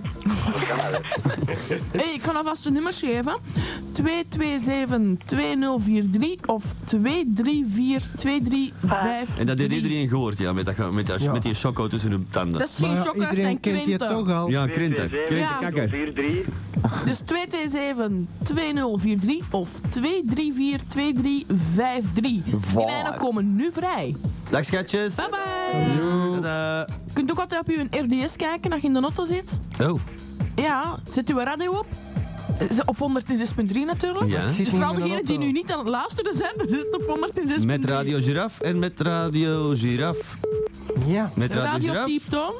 Hey, ik kan alvast de nummers geven. 227-2043 of 234-2355.
En dat heeft iedereen gehoord, ja, met, dat, ge- met, dat,
Ja.
met die choco tussen hun tanden.
Dat is geen
ja,
chocolade, dat zijn
iedereen kent die
kwinten.
toch al.
Ja, Krinten. Krinten,
Ja.
kakker.
4, 3.
Dus 227-2043 of 234-2353. Die lijnen komen nu vrij.
Dag schatjes.
Bye bye!
Tada.
Je kunt ook altijd op je RDS kijken als je in de auto zit.
Oh,
Ja, zet uw radio op. Eh, Op 106.3 natuurlijk.
Ja. Ik zit
Dus
niet
vooral
in mijn
degenen die
auto.
nu niet aan het luisteren zijn, zit op 106.3.
met Radio Giraffe en met Radio Giraffe.
Ja.
Met Radio,
Radio
Giraffe.
Pieptoon.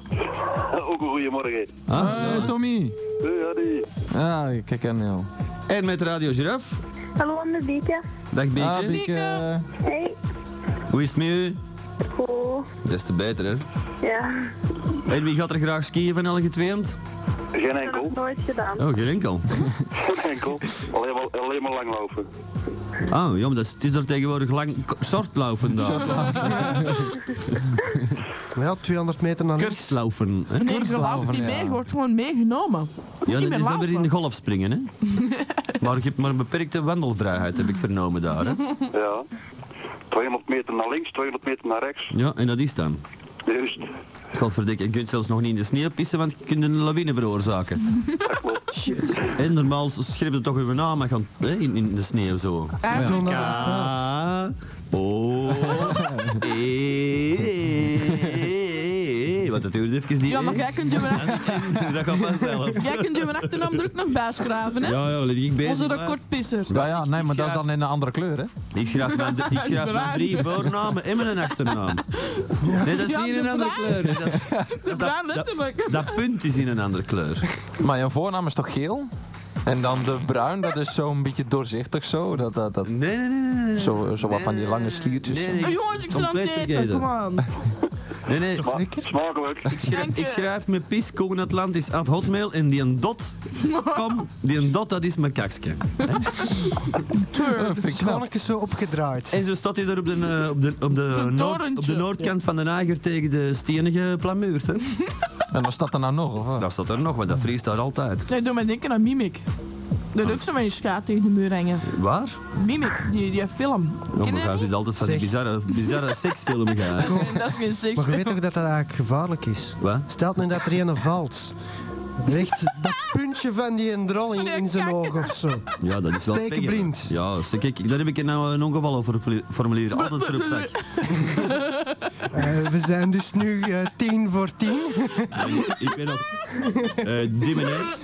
Ook een goeiemorgen.
Ah,
Hey, Eh, Tommy.
Hey, Harry.
Ja, ik herken jou.
En met Radio Giraffe.
Hallo, Anne Bieke.
Dag Bieke.
Ah, Bieke.
Bieke.
Hey.
Hoe is het met u?
Cool.
Des te beter, hè?
Ja,
En wie gaat er graag skiën van elke tweeënd?
Geen
ik heb
enkel.
het nooit gedaan.
Oh, geen enkel.
Geen enkel. Alleen maar, alleen maar langlopen.
Ah, ja, maar dat is, het is er tegenwoordig lang sortlopen daar.
Ja, 200 meter naar links.
Kurslaufen. Hè?
Nee, ik geloof niet mee. Je wordt gewoon meegenomen.
Ja,
niet
dat
meer
is dan weer
laven.
in de golf springen, hè? maar je hebt maar een beperkte wandelvrijheid, heb ik vernomen daar, hè?
Ja. 200 meter naar links, 200 meter naar rechts.
Ja, en dat is dan.
Dus-
Juist.
Godverdikke, je kunt zelfs nog niet in de sneeuw pissen, want je kunt een lawine veroorzaken. en normaal schreef je toch uw naam en gaan, hè, in, in de sneeuw zo.
Ja. Donald
K- O. E. E. Want het duurde even die
Ja, maar
E.
jij kunt je maar-
En Dat gaat vanzelf.
Jij kunt je mijn achternaamdruk nog bijschrijven, hè?
Ja, ja, laat ik bezig,
Onze
maar-
recordpissers.
Ja, ja, nee, maar dat is
Dan in een andere kleur, hè?
Ik schrijf mijn, ik schrijf mijn drie voornamen en mijn achternaam. Nee, dat is
Ja,
niet in een
de
andere
bruin.
kleur. hè. Dat,
De bruin letterlijk.
dat punt is in een andere kleur.
Maar jouw voornaam is toch geel? En dan de bruin, dat is zo'n beetje doorzichtig zo. Dat, dat, dat,
nee, nee, nee,
Zo, zo wat van die lange sliertjes.
Hey, Ah, jongens, ik sta aan het eten, kom aan.
Nee, nee.
Smakelijk.
Ik schrijf, ik schrijf mijn pis, Koen Atlantis, at hotmail en die een dot, kom, die een dot, dat is mijn kakske.
Het is gewoon even zo opgedraaid.
En zo staat hij daar op de, eh, op de, op de,
Zo'n
noord,
torentje.
op de noordkant van de Niger tegen de stenen geplamuurd. Hè? En wat staat er nou nog? Of? Dat staat er nog, want dat vriest daar altijd.
Nee, doe mij denken aan Mimic.
Ah.
Dat is ook zo met je schaat tegen de muur hangen.
Waar?
Mimic, die, die film.
Ja, maar daar zit altijd van die bizarre, bizarre seksfilmen gaan.
Dat is geen seks.
Maar je weet toch dat dat eigenlijk gevaarlijk is?
Wat?
Stel nu dat er een valt. Ligt dat puntje van die een drol in, in zijn oog of zo.
Ja, dat is wel
Stekenblind.
pegger. Ja, zo, kijk, daar heb ik nou een ongevallenformulier altijd voor op zak.
Eh, we zijn dus nu eh, tien voor tien.
Ik ben nog... eh die meneer,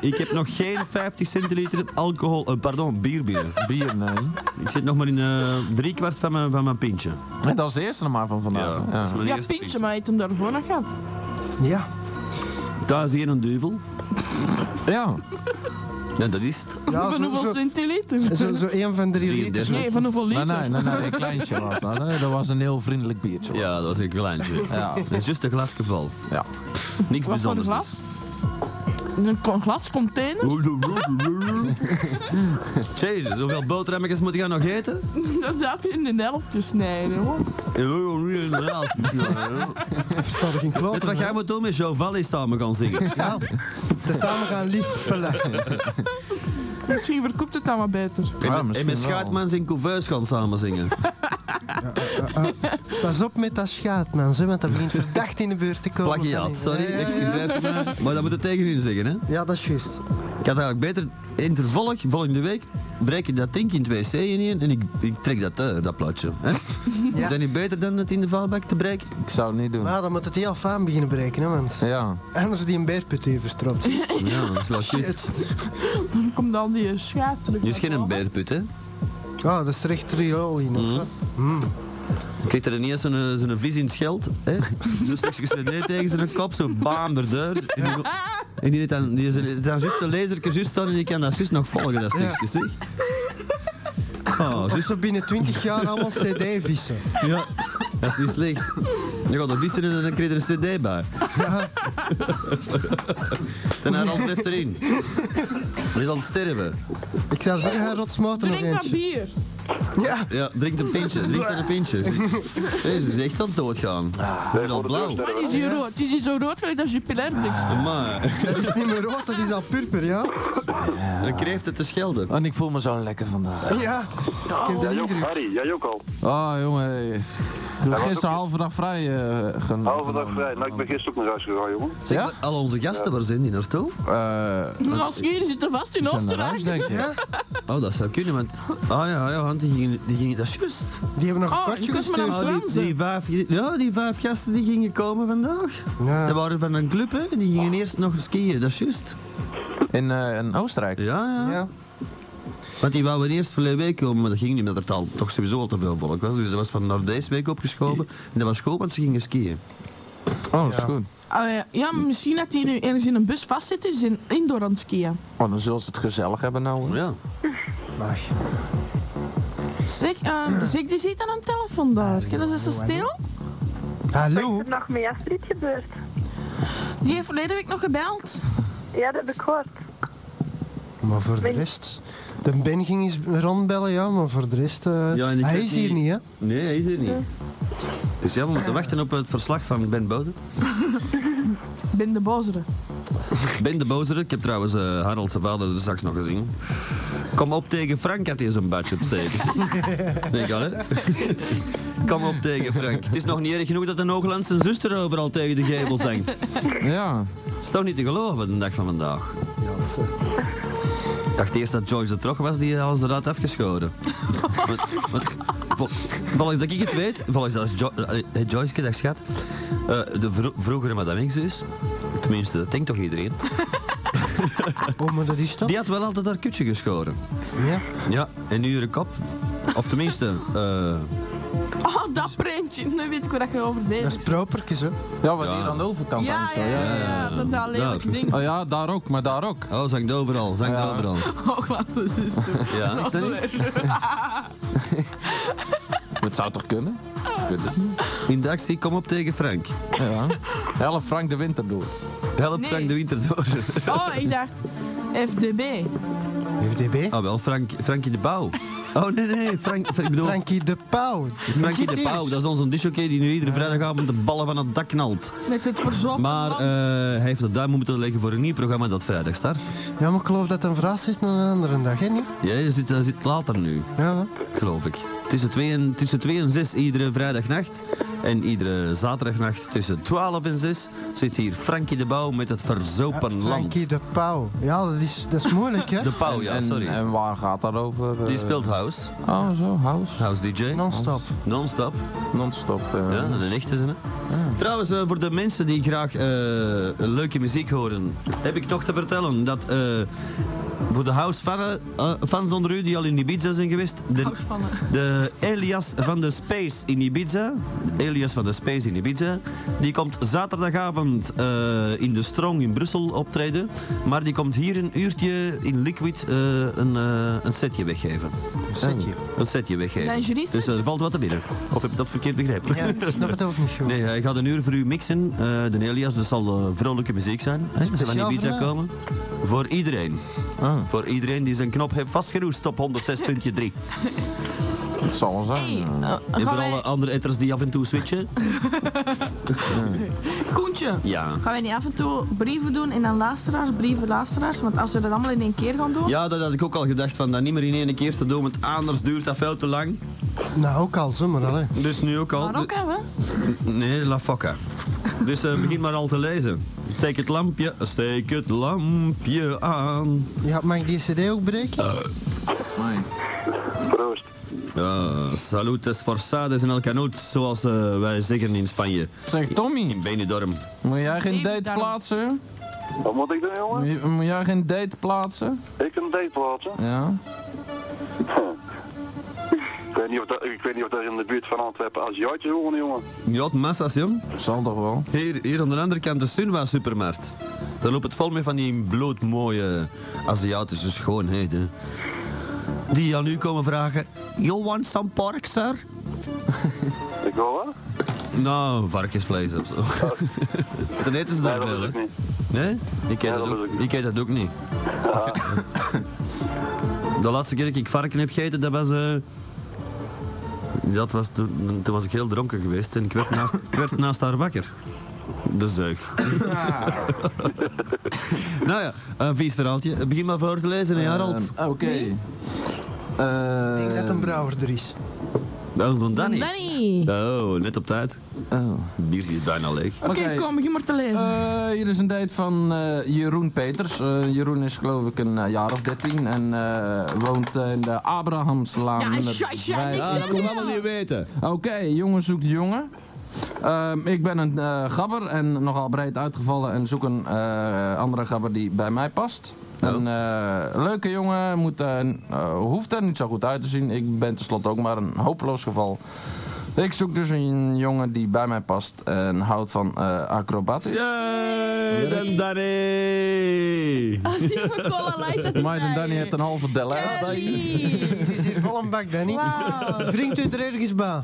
ik heb nog geen 50 centiliter alcohol, eh, pardon, bier binnen. Bier, nee. Ik zit nog maar in eh driekwart van mijn, van mijn pintje.
En dat is de eerste maar van vandaag.
Ja, dat is mijn
Ja,
eerste
Pintje, maar hij heeft hem daarvoor nog gehad.
Ah,
Ja.
Thuis hier een duivel. Ja. Ja, dat is het.
Ja, van hoeveel centiliter?
Zo, zo één van drie liters.
Nee, van hoeveel liter?
Nee, nee, nee, nee, een kleintje was dat. hè. Dat was een heel vriendelijk biertje.
Ja, dat was een kleintje.
Ja.
Dat is juist een glasgeval.
Ja.
Niks
Wat voor een
bijzonders. dus.
glas? Een kon- glascontainer?
Jezus, hoeveel boterhammetjes moet jij nog eten?
Dat zou je in de helft te snijden, hoor.
Versta er geen kloot
Weet wat
van,
jij moet doen met Joval is samen gaan zingen.
Ja, te samen gaan liefpelen.
Misschien verkoopt het dan wat beter.
En met, en met Schaatmans en Couveus gaan samen zingen.
Pas op met dat schaatmans, hè, want dat begint verdacht in de buurt te komen.
Plagiaat, sorry,
Ja, ja, ja.
excuseer. Maar dat moet het tegen u zeggen, hè?
Ja, dat is juist.
Ik had eigenlijk beter, in het volg, volgende week, breek ik dat ding in het wc in één en ik, ik trek dat uit, dat plaatje. Hè? Is dat niet beter dan het in de vuilbak te breken?
Ik zou het niet doen.
Maar dan moet het heel fijn beginnen breken, hè, want
Ja.
anders is die een beerput hier verstopt.
Ja, dat is wel juist.
Dan komt dan die schaat terug.
Je is geen beerput, hè?
Ja, dat is recht riool in, of wat? Mm.
Krijgt er ineens zo'n eh, zo'n vis in het geld, hè? Zo'n stukje CD tegen zijn kop, zo baam er deur. En die, en die heeft dan, die is dan juist een laserke juist staan en die kan dat juist nog volgen, dat stukje, zeg. Oh,
Of
juist.
ze binnen 20 jaar allemaal cd-vissen.
Ja. Dat is niet slecht. Dan gaat de vissen en dan krijg je er een cd bij. dan haalt het even erin. Hij is aan het sterven.
Ik zou zeggen, hij rotsmoten nog
Drink wat
eentje.
bier.
Ja.
Ja, drink een pintje, drink dan een pintje. Deze is echt aan het doodgaan. Ze zijn al blauw.
Maar die is hier rood. Die is hier zo rood gelijk als je pilair bliks.
Maar,
Dat is niet meer rood, dat is al purper, ja?
dan kreeft het te schelden.
En ik voel me zo lekker vandaag.
Ja. Ik heb
Jij ook,
niet
Harry, jij ook al.
Oh, jongen. Ik heb
was
gisteren
ook-
halve dag vrij eh genomen.
Halve dag vrij. Nou, ik ben gisteren ook naar huis gegaan, jongen.
Zeg, maar, al onze gasten, waar zijn die naartoe?
Eh,
Als jullie zitten vast in
Zijn
Oostenrijk.
naar huis, denk
Ja?
Oh, dat zou kunnen, want... Ah ja, ja, want die gingen... Die gingen dat is juist.
Die hebben nog een
Oh,
kortje
ik kus me
gestuurd.
naar
Oh, die,
Fransen.
die vijf, ja, die vijf gasten die gingen komen vandaag.
Ja. Ah.
Dat waren van een club, hè. Die gingen eerst nog skiën, dat is juist.
In, eh, in Oostenrijk?
Ja, ja.
Ja.
Want die wouden eerst verleden week komen, maar dat ging niet, omdat er al, toch sowieso al te veel volk was. Dus dat was van naar deze week opgeschoven. En dat was goed, want ze gingen skiën.
Oh, dat is goed.
Ah, ja. ja, maar misschien dat die nu ergens in een bus vastzitten. Ze zijn indoor aan het skiën.
Oh, dan zullen ze het gezellig hebben nou. hè.
Ja.
Maar,
Zeg, eh, zeg, die zit aan een telefoon daar. Kijk, Dat is zo stil.
Hallo?
Er nog met Astrid gebeurd?
Die heeft verleden week nog gebeld.
Ja, dat heb ik gehoord.
maar voor de rest... De Ben ging eens rondbellen, ja, maar voor de rest... eh,
Ja, en ik
hij
weet
is hier
niet-
niet, hè?
Nee, hij is er niet. Dus ja, we moeten wachten op het verslag van Ben Boden.
Ben de bozere.
Ben de Bozere, ik heb trouwens eh, Harald zijn vader er straks nog gezien. Kom op tegen Frank had hij zijn badge opsteken. Nee, kan hè? Kom op tegen Frank. Het is nog niet erg genoeg dat een Hoogland zijn zuster overal tegen de gevels hangt. Ja. Is toch niet te geloven, de dag van vandaag. Ik dacht eerst dat George de Trog was die alles eruit afgeschoren. Maar- maar vol- Volgens dat ik het weet, volgens dat jo eh, hey, Joyce, dag schat, eh, de vro- vroegere Madame X dus, tenminste dat denkt toch iedereen,
Oh, maar dat is toch?
die had wel altijd haar kutje geschoren.
Ja.
Ja, en nu haar kop, of tenminste, eh,
Oh, dat prentje. Nu weet ik waar je over deed.
propertjes, hè?
Ja, wat hier aan de overkant
Ja,
hangt, zo.
ja, ja, ja, dat daar lelijke ding.
Oh ja, daar ook, maar daar ook.
Oh, zangt overal, zangt overal.
Hooglandse zuster.
Ja, ik zei niet.
Het zou toch kunnen?
Oh.
In de actie, kom op tegen Frank. Ja. Help Frank de winter door. Help
Nee.
Frank de winter door.
Oh, ik dacht FDB.
FDB?
Oh wel, Frank, Frankie de Pauw. Oh nee, nee, Frank, ik bedoel...
Frankie de Pauw.
Frankie de Pauw, dat is onze disjockey die nu iedere vrijdagavond de ballen van het dak knalt.
Met het verzopen
Maar eh, hij heeft de duim moeten leggen voor een nieuw programma dat vrijdag start.
Ja, maar ik geloof dat het een verrassing is naar een andere dag, hè? Niet?
Ja, dat zit, dat zit later nu.
Ja.
Geloof ik. Tussen 2 en, tussen 2 en 6 iedere vrijdagnacht. En iedere zaterdagnacht tussen 12 en 6 zit hier Frankie de Bouw met het verzopen land.
Frankie de Pauw. Ja, dat is, dat is moeilijk, hè?
De Pauw, ja,
En-
sorry.
En waar gaat dat over? eh?
Die speelt house.
Oh, zo, house.
House DJ.
Non-stop.
Non-stop.
Non-stop. eh.
Ja, een echte zin. hè.
Ah.
Trouwens, eh, voor de mensen die graag eh, leuke muziek horen, heb ik nog te vertellen dat eh, voor de house fannen, eh, fans onder u die al in Ibiza zijn geweest, de, de Elias van de Space in Ibiza, Elias van de Space in Ibiza, die komt zaterdagavond eh, in de Strong in Brussel optreden, maar die komt hier een uurtje in Liquid eh, een, eh, een setje weggeven. Een
setje?
Een setje weggeven.
Lingerie
Dus er valt wat te binnen. Of heb ik dat verkeerd begrepen?
Ja, ik snap het ook niet, joh.
Nee, eh, hij gaat een uur voor u mixen, eh, de Elias, dus zal eh, vrolijke muziek zijn. Hè? Ze van
Speciaal
Ibiza
voor mij.
komen. Voor iedereen. Voor iedereen die zijn knop heeft vastgeroest op 106.3.
Dat zal wel
eh,
zijn.
en
Eh, gaan
voor
wij-
alle andere etters die af en toe switchen.
Koentje.
Ja.
Gaan wij niet af en toe brieven doen en dan luisteraars, brieven, luisteraars? Want als we dat allemaal in één keer gaan doen...
Ja, dat had ik ook al gedacht van dat niet meer in één keer te doen, want anders duurt dat veel te lang.
Nou, ook al, zomaar al, hè?
Dus nu ook al.
Maar ook hebben.
Nee, la fokka. Dus eh, begin maar al te lezen. Steek het lampje, steek het lampje aan.
Ja, mag ik die cd ook breken?
Proost. Ja, Eh, salutes forçades en el canut, zoals eh, wij zeggen in Spanje.
Zeg Tommy.
In Benidorm.
Moet jij geen date plaatsen?
Wat moet ik doen, jongen?
Moet- Moet jij geen date plaatsen?
Ik een date plaatsen.
Ja.
Ik weet niet of dat, ik weet niet of dat in de buurt van Antwerpen Aziatjes wonen, jongen.
Ja, massa's, jong. Zal toch wel. Hier, hier aan de andere kant de Sunwa supermarkt. Daar loopt het vol met van die bloedmooie Aziatische schoonheden. Die aan u komen vragen, you want some pork, sir?
Ik wil wel.
Nou, varkensvlees of zo. Dan eten ze daar wel, hè? Nee? Ik eet dat, ook, ik Ah. eet dat ook niet. De laatste keer dat ik varken heb gegeten, dat was... eh, Dat was toen, toen was ik heel dronken geweest en ik werd naast, ik werd naast haar wakker. De zuig. Ah. nou ja, een vies verhaaltje. Begin maar voor te lezen,
Eh.
hè, Harald.
ah,
Ehm, Oké. Eh,
Ik denk dat een brouwer er is.
Dat is een Danny.
Danny.
Oh, net op tijd.
Oh.
Bier is bijna leeg.
Oké, kom, begin maar te lezen.
Eh, hier is een date van eh, Jeroen Peters. Eh, Jeroen is geloof ik een eh, jaar of 13 en eh, woont eh, in de Abrahamslaan.
Ja,
nummer
ja, ja,
vijf.
niks Ah, dat zeggen, moeten we allemaal ja. niet
weten.
Oké, jongen zoekt jongen. Ehm, ik ben een eh, gabber en nogal breed uitgevallen en zoek een eh, andere gabber die bij mij past. Een eh, leuke jongen moet, eh, eh, hoeft er niet zo goed uit te zien. Ik ben tenslotte ook maar een hopeloos geval. Ik zoek dus een jongen die bij mij past en houdt van eh, acrobatisch.
Yay, dan Danny!
Als je me cola light, dat is
Maar dan
mij.
Danny heeft een halve della.
Kelly.
Het is hier vol een bak, Danny.
Wauw.
Wringt u er ergens bij?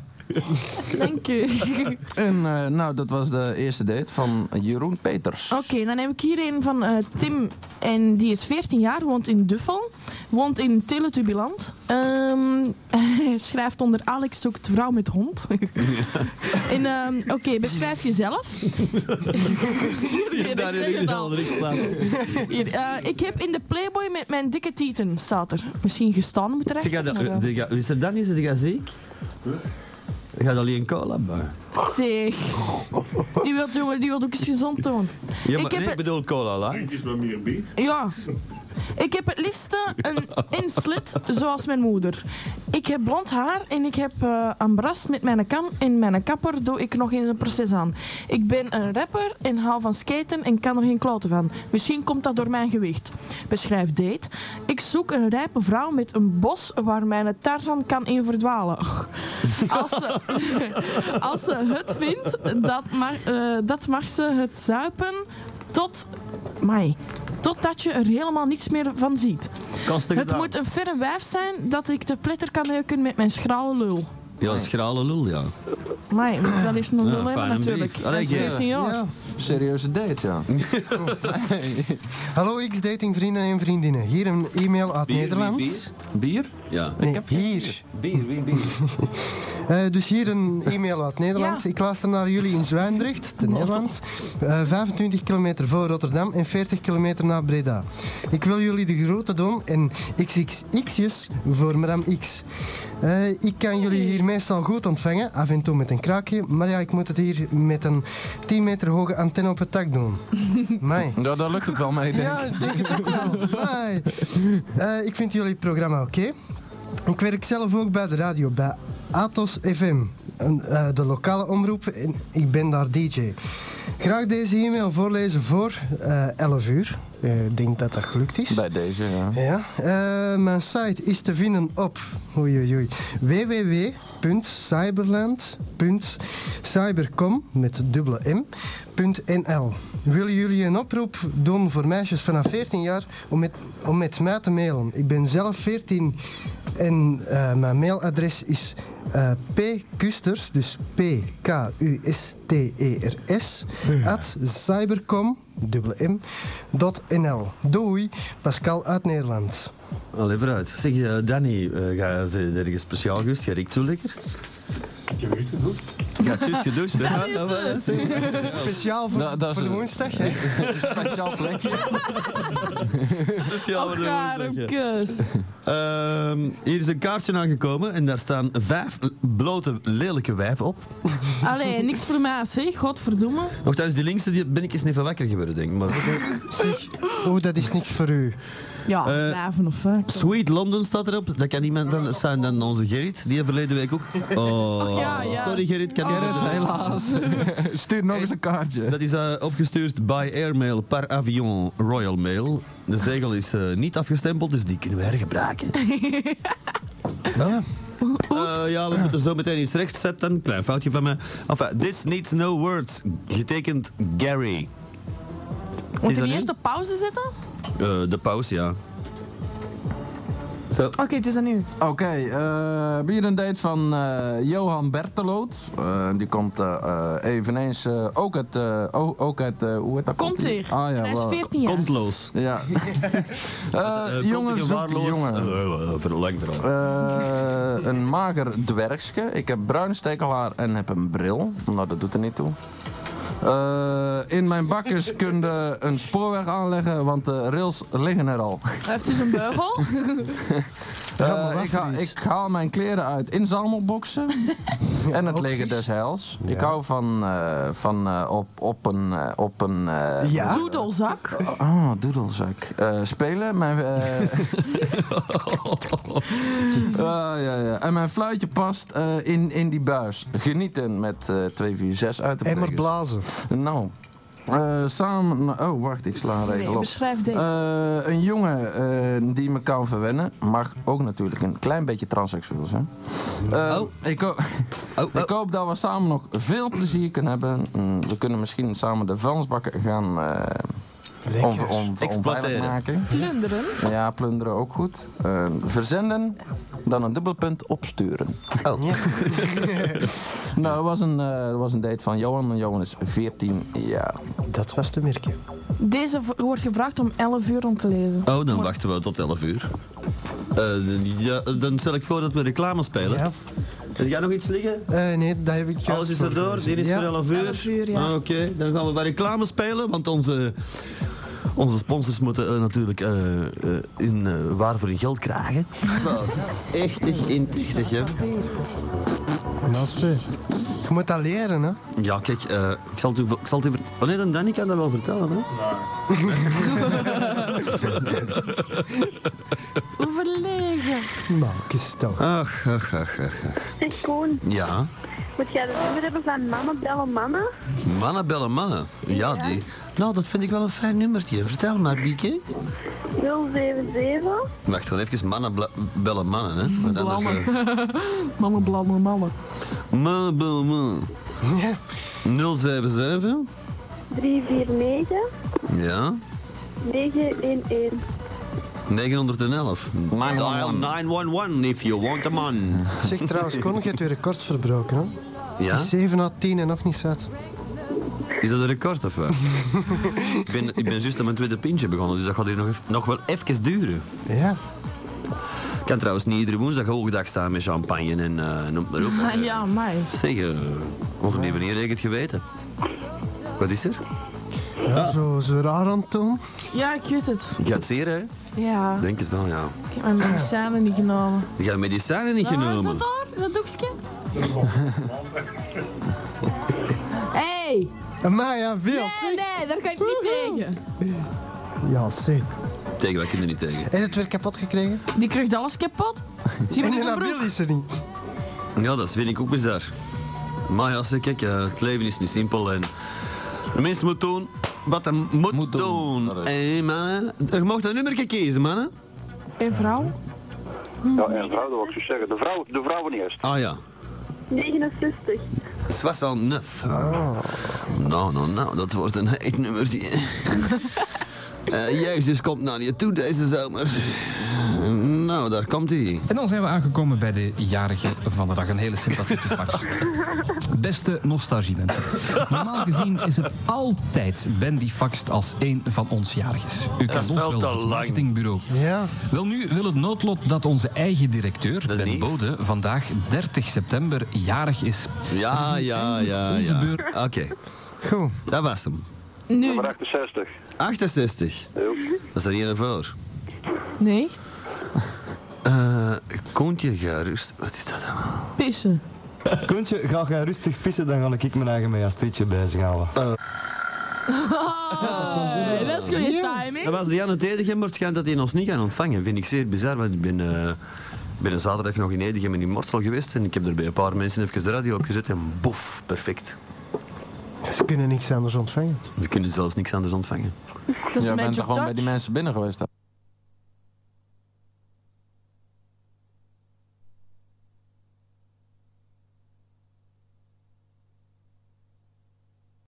Dank u.
En eh, nou, dat was de eerste date van Jeroen Peters.
Oké, dan heb ik hier een van eh, Tim. En die is 14 jaar, woont in Duffel. Woont in Teletubiland. Ehm, hij schrijft onder Alex zoekt vrouw met hond. en ehm, oké, beschrijf jezelf.
Ja, daar heb ik het al erin gedaan.
Hier, eh, ik heb in de Playboy met mijn dikke tieten, staat er. Misschien gestaan moet er
Zeg, jij
echt.
dat- die ga- is er dan niet? Zit jij ziek? Je gaat alleen cola bouwen.
Zeg. Die wil, die wil- die wil ook eens gezond doen.
Ja, maar
ik heb
nee, ik
het,
bedoel cola light.
is maar meer bier.
ja. Ik heb het liefste een inslit zoals mijn moeder. Ik heb blond haar en ik heb eh een bras met mijn kam en mijn kapper doe ik nog eens een proces aan. Ik ben een rapper en hou van skaten en kan er geen kloten van. Misschien komt dat door mijn gewicht. Beschrijf date. Ik zoek een rijpe vrouw met een bos waar mijn Tarzan kan in verdwalen. Als ze, als ze het vindt, dat mag, eh, dat mag ze het zuipen tot... Mai, totdat je er helemaal niets meer van ziet.
Kosten
Het
gedaan.
moet een verre wijf zijn dat ik de pletter kan neuken met mijn schrale lul.
Ja, een schrale lul, ja.
Maar je moet wel eens een
Ja,
lul hebben
fijne
natuurlijk.
brief.
Dat
Allee,
is
Gerrit.
14 jaar.
Ja.
Serieuze date, ja.
Hallo X-dating vrienden en vriendinnen. Hier een e-mail uit Nederland.
Bier?
Ja.
Nee, hier.
Bier, wie bier?
Eh, dus hier een e-mail uit Nederland. Ik luister naar jullie in Zwijndrecht, te Nederland. Eh, 25 kilometer voor Rotterdam en 40 kilometer naar Breda. Ik wil jullie de groeten doen en xxx'jes voor madame X. Eh, ik kan jullie hier meestal goed ontvangen, af en toe met een kraakje. Maar ja, ik moet het hier met een 10 meter hoge antenne op het dak doen. Mij.
Ja, Nou, daar lukt het wel mee, denk ik.
Ja, ik denk het ook wel. Amai. Eh, ik vind jullie programma oké. Ik werk zelf ook bij de radio, bij Atos FM, een, eh, de lokale omroep. En ik ben daar DJ. Graag deze e-mail voorlezen voor eh 11 uur. Eh, Ik denk dat dat gelukt is.
Bij deze, ja.
Ja, eh, mijn site is te vinden op oei, oei, oei, www.cyberland.cybercom met dubbele m, punt .nl. Willen jullie een oproep doen voor meisjes vanaf 14 jaar om met, om met mij te mailen? Ik ben zelf 14 en eh, mijn mailadres is eh pkusters, dus p-k-u-s-t-e-r-s, E at cybercom, dubbele m, dot nl. Doei, Pascal uit Nederland.
Allee, vooruit. Zeg, eh, Danny, eh, ga je ergens speciaal geweest? Jij riekt zo lekker?
Ik heb juist gedoucht.
Ja, het is juist gedoucht, hè?
Dat is
Ja,
eh,
maar
het.
is-
Speciaal voor,
Nou, dat is
voor de
het.
woensdag, hè?
Speciaal plekje.
Speciaal voor de woensdag, ja.
kus.
Ehm, hier is een kaartje aangekomen en daar staan vijf blote lelijke wijven op.
Allee, niks voor mij, zeg. Godverdomme.
Nogthans, die linkse die ben ik eens niet van wakker geworden, denk ik. Maar...
Oh, dat is niks voor u.
Ja,
Eh,
blijven of fuck.
Sweet London staat erop. Dat kan niemand dan zijn dan onze Gerrit. Die hebben verleden week ook. Oh,
ja, ja.
sorry Gerrit, kan
Gerrit,
niet meer doen.
helaas. Stuur nog eens een kaartje.
Dat is eh, opgestuurd by airmail par avion Royal Mail. De zegel is eh, niet afgestempeld, dus die kunnen we hergebruiken.
Ja.
Eh, ja, we moeten zo meteen iets rechtzetten. Klein foutje van mij. Enfin, this needs no words. Getekend Gary. Is
Moet
dat
je
nu?
niet eerst op pauze zetten?
Eh, de pauze, ja. Zo.
Oké, het is aan u.
Oké, eh, we hier een date van eh, Johan Berteloot. Eh, die komt eh, eh, eveneens eh, ook uit, eh, o- ook uit eh, hoe heet dat?
Komt hier.
Ah,
En
ja,
hij is
wel.
14 jaar.
Kontloos.
Ja. Eh jongen zoekt jongen.
Eh, Verlang vooral.
Eh, een mager dwergske. Ik heb bruin stekelhaar en heb een bril. Nou, dat doet er niet toe. Eh, in mijn bakkers kunde een spoorweg aanleggen, want de rails liggen er al.
Heeft u zijn beugel?
Eh, ik, haal, ik haal mijn kleren uit inzamelboxen. en het leger des heils. Ik hou van, eh, van eh, op, op een... eh, op een eh,
Doedelzak.
Oh, doedelzak. Eh, spelen. Mijn, eh, Ah, ja, ja. En mijn fluitje past eh, in, in die buis. Genieten met eh 246 uit de
Emmer
prekers.
blazen.
Nou. eh, samen. Oh, wacht, ik sla een
Nee,
regel op.
beschrijf deze.
Eh, een jongen eh, die me kan verwennen, mag ook natuurlijk een klein beetje transseksueel zijn. Eh, Ik, ho- ik hoop dat we samen nog veel plezier kunnen hebben. Mm, We kunnen misschien samen de vuilnisbakken gaan eh on, on, onveilig
Exploiteren.
maken.
Plunderen.
Ja, plunderen ook goed. Eh, Ehm, verzenden dan een dubbelpunt opsturen. Oh. nou, dat was, een, eh, dat was een date van Johan en Johan is 14 jaar.
Dat was te merken.
Deze v- wordt gevraagd om 11 uur om te lezen.
Oh, dan wachten we tot 11 uur. Eh, ja, dan stel ik voor dat we reclame spelen.
Ja.
Heb jij nog iets liggen?
Eh, nee, dat heb ik juist
Alles is erdoor,
voorgelezen.
dit is
Ja.
voor 11 uur.
11 uur, ja.
Ah, Oké, dan gaan we bij reclame spelen, want onze, onze sponsors moeten eh, natuurlijk eh, eh, in, eh, waar voor hun geld krijgen. Nou, echtig, intichtig, hè.
Nou, zeg. Je moet dat leren, hè.
Ja, kijk, eh, ik zal het u, ik zal het u vertellen. Oh nee, dan Danny kan dat wel vertellen, hè.
Overlegen.
Nou, kies toch.
Ach, ach, ach, ach, ach.
Zeg Koen,
Ja,
moet jij de nummer hebben van mama bellen mama?
mannen bellen mannen. Ja, die. Nou, dat vind ik wel een fijn nummertje. Vertel maar, Bieke.
077
Wacht gewoon even, mannen bla- bellen mannen, hè. Want anders, eh,
Mannen, blannen, mannen.
Mannen bellen mannen. 077.
349
Ja.
911.
911. Dial 911 if you want a man.
Zeg trouwens, Kon, je hebt je record verbroken, hè. Het
Ja?
is 7 à 10 en nog niet zat.
Is dat een record of wat? ik ben, ik ben juist aan mijn tweede pintje begonnen, dus dat gaat hier nog, even- nog wel even duren.
Ja.
Ik kan trouwens niet iedere woensdag hoogdag staan met champagne en eh, noem het maar op.
Ah, Ja, mij.
Zeg, eh, onze lieve meneer heeft het geweten. Wat is er?
Ja, Zo, zo raar, Anton.
Ja, ik weet het.
Je gaat zeer, hè?
Ja,
Denk het wel, ja.
ik heb mijn medicijnen niet genomen.
Je hebt medicijnen niet
Ah, is
genomen.
dat daar? Dat doekje? Hé! Hey.
Maar ja, veel.
Nee, nee, daar kan ik niet tegen.
Ja, zeg.
Tegen, wij kunnen niet tegen.
En het weer kapot gekregen?
Die krijgt alles kapot. Zie
En
je
de
zijn
Nabil
broek?
is er niet.
Ja, dat vind ik ook bizar. Maar ja, zeg, kijk, eh, het leven is niet simpel en de mensen moeten doen wat ze moet, doen. Hé, mannen. Je mag een nummer kiezen, mannen.
En vrouw?
Ja, en vrouw, dat wil ik zo zeggen. De, vrouw, de vrouwen eerst.
Ah ja,
69.
69. Nou, nou, nou, dat wordt een heet nummertje. Eh, Jezus komt naar je toe deze zomer. Nou, daar komt hij.
En dan zijn we aangekomen bij de jarige van de dag. Een hele sympathieke fax. Beste nostalgie mensen. Normaal gezien is het altijd Ben die faxt als één van ons jarig is. U
Dat is
kent ons
wel te
van het
lang.
marketingbureau.
Ja.
Wel nu wil het noodlot dat onze eigen directeur, Ben Bode, vandaag 30 september jarig is.
Ja, ja, ja,
Onze
ja.
beur-
Oké. Goed. Dat was hem.
Nu.
Maar 68.
68. Dat is er hier voor.
Nee.
Eh, Koentje, ga rust. Wat is dat allemaal?
Pissen.
Kuntje, ga jij rustig pissen, dan ga ik mijn eigen mee als tweetje bezighouden.
Hey, Oh, dat is goede timing.
Dat was de Jan het Edegem, maar het schijnt dat hij ons niet kan ontvangen. Vind ik zeer bizar, want ik ben, eh, ben een zaterdag nog in Edegem en in Mortsel geweest. En ik heb er bij een paar mensen even de radio opgezet en boef, perfect.
Ze kunnen niks anders ontvangen.
Ze kunnen zelfs niks anders ontvangen.
is
Jij
een
bent
beetje
toch gewoon bij
touch.
die mensen binnen geweest? hè?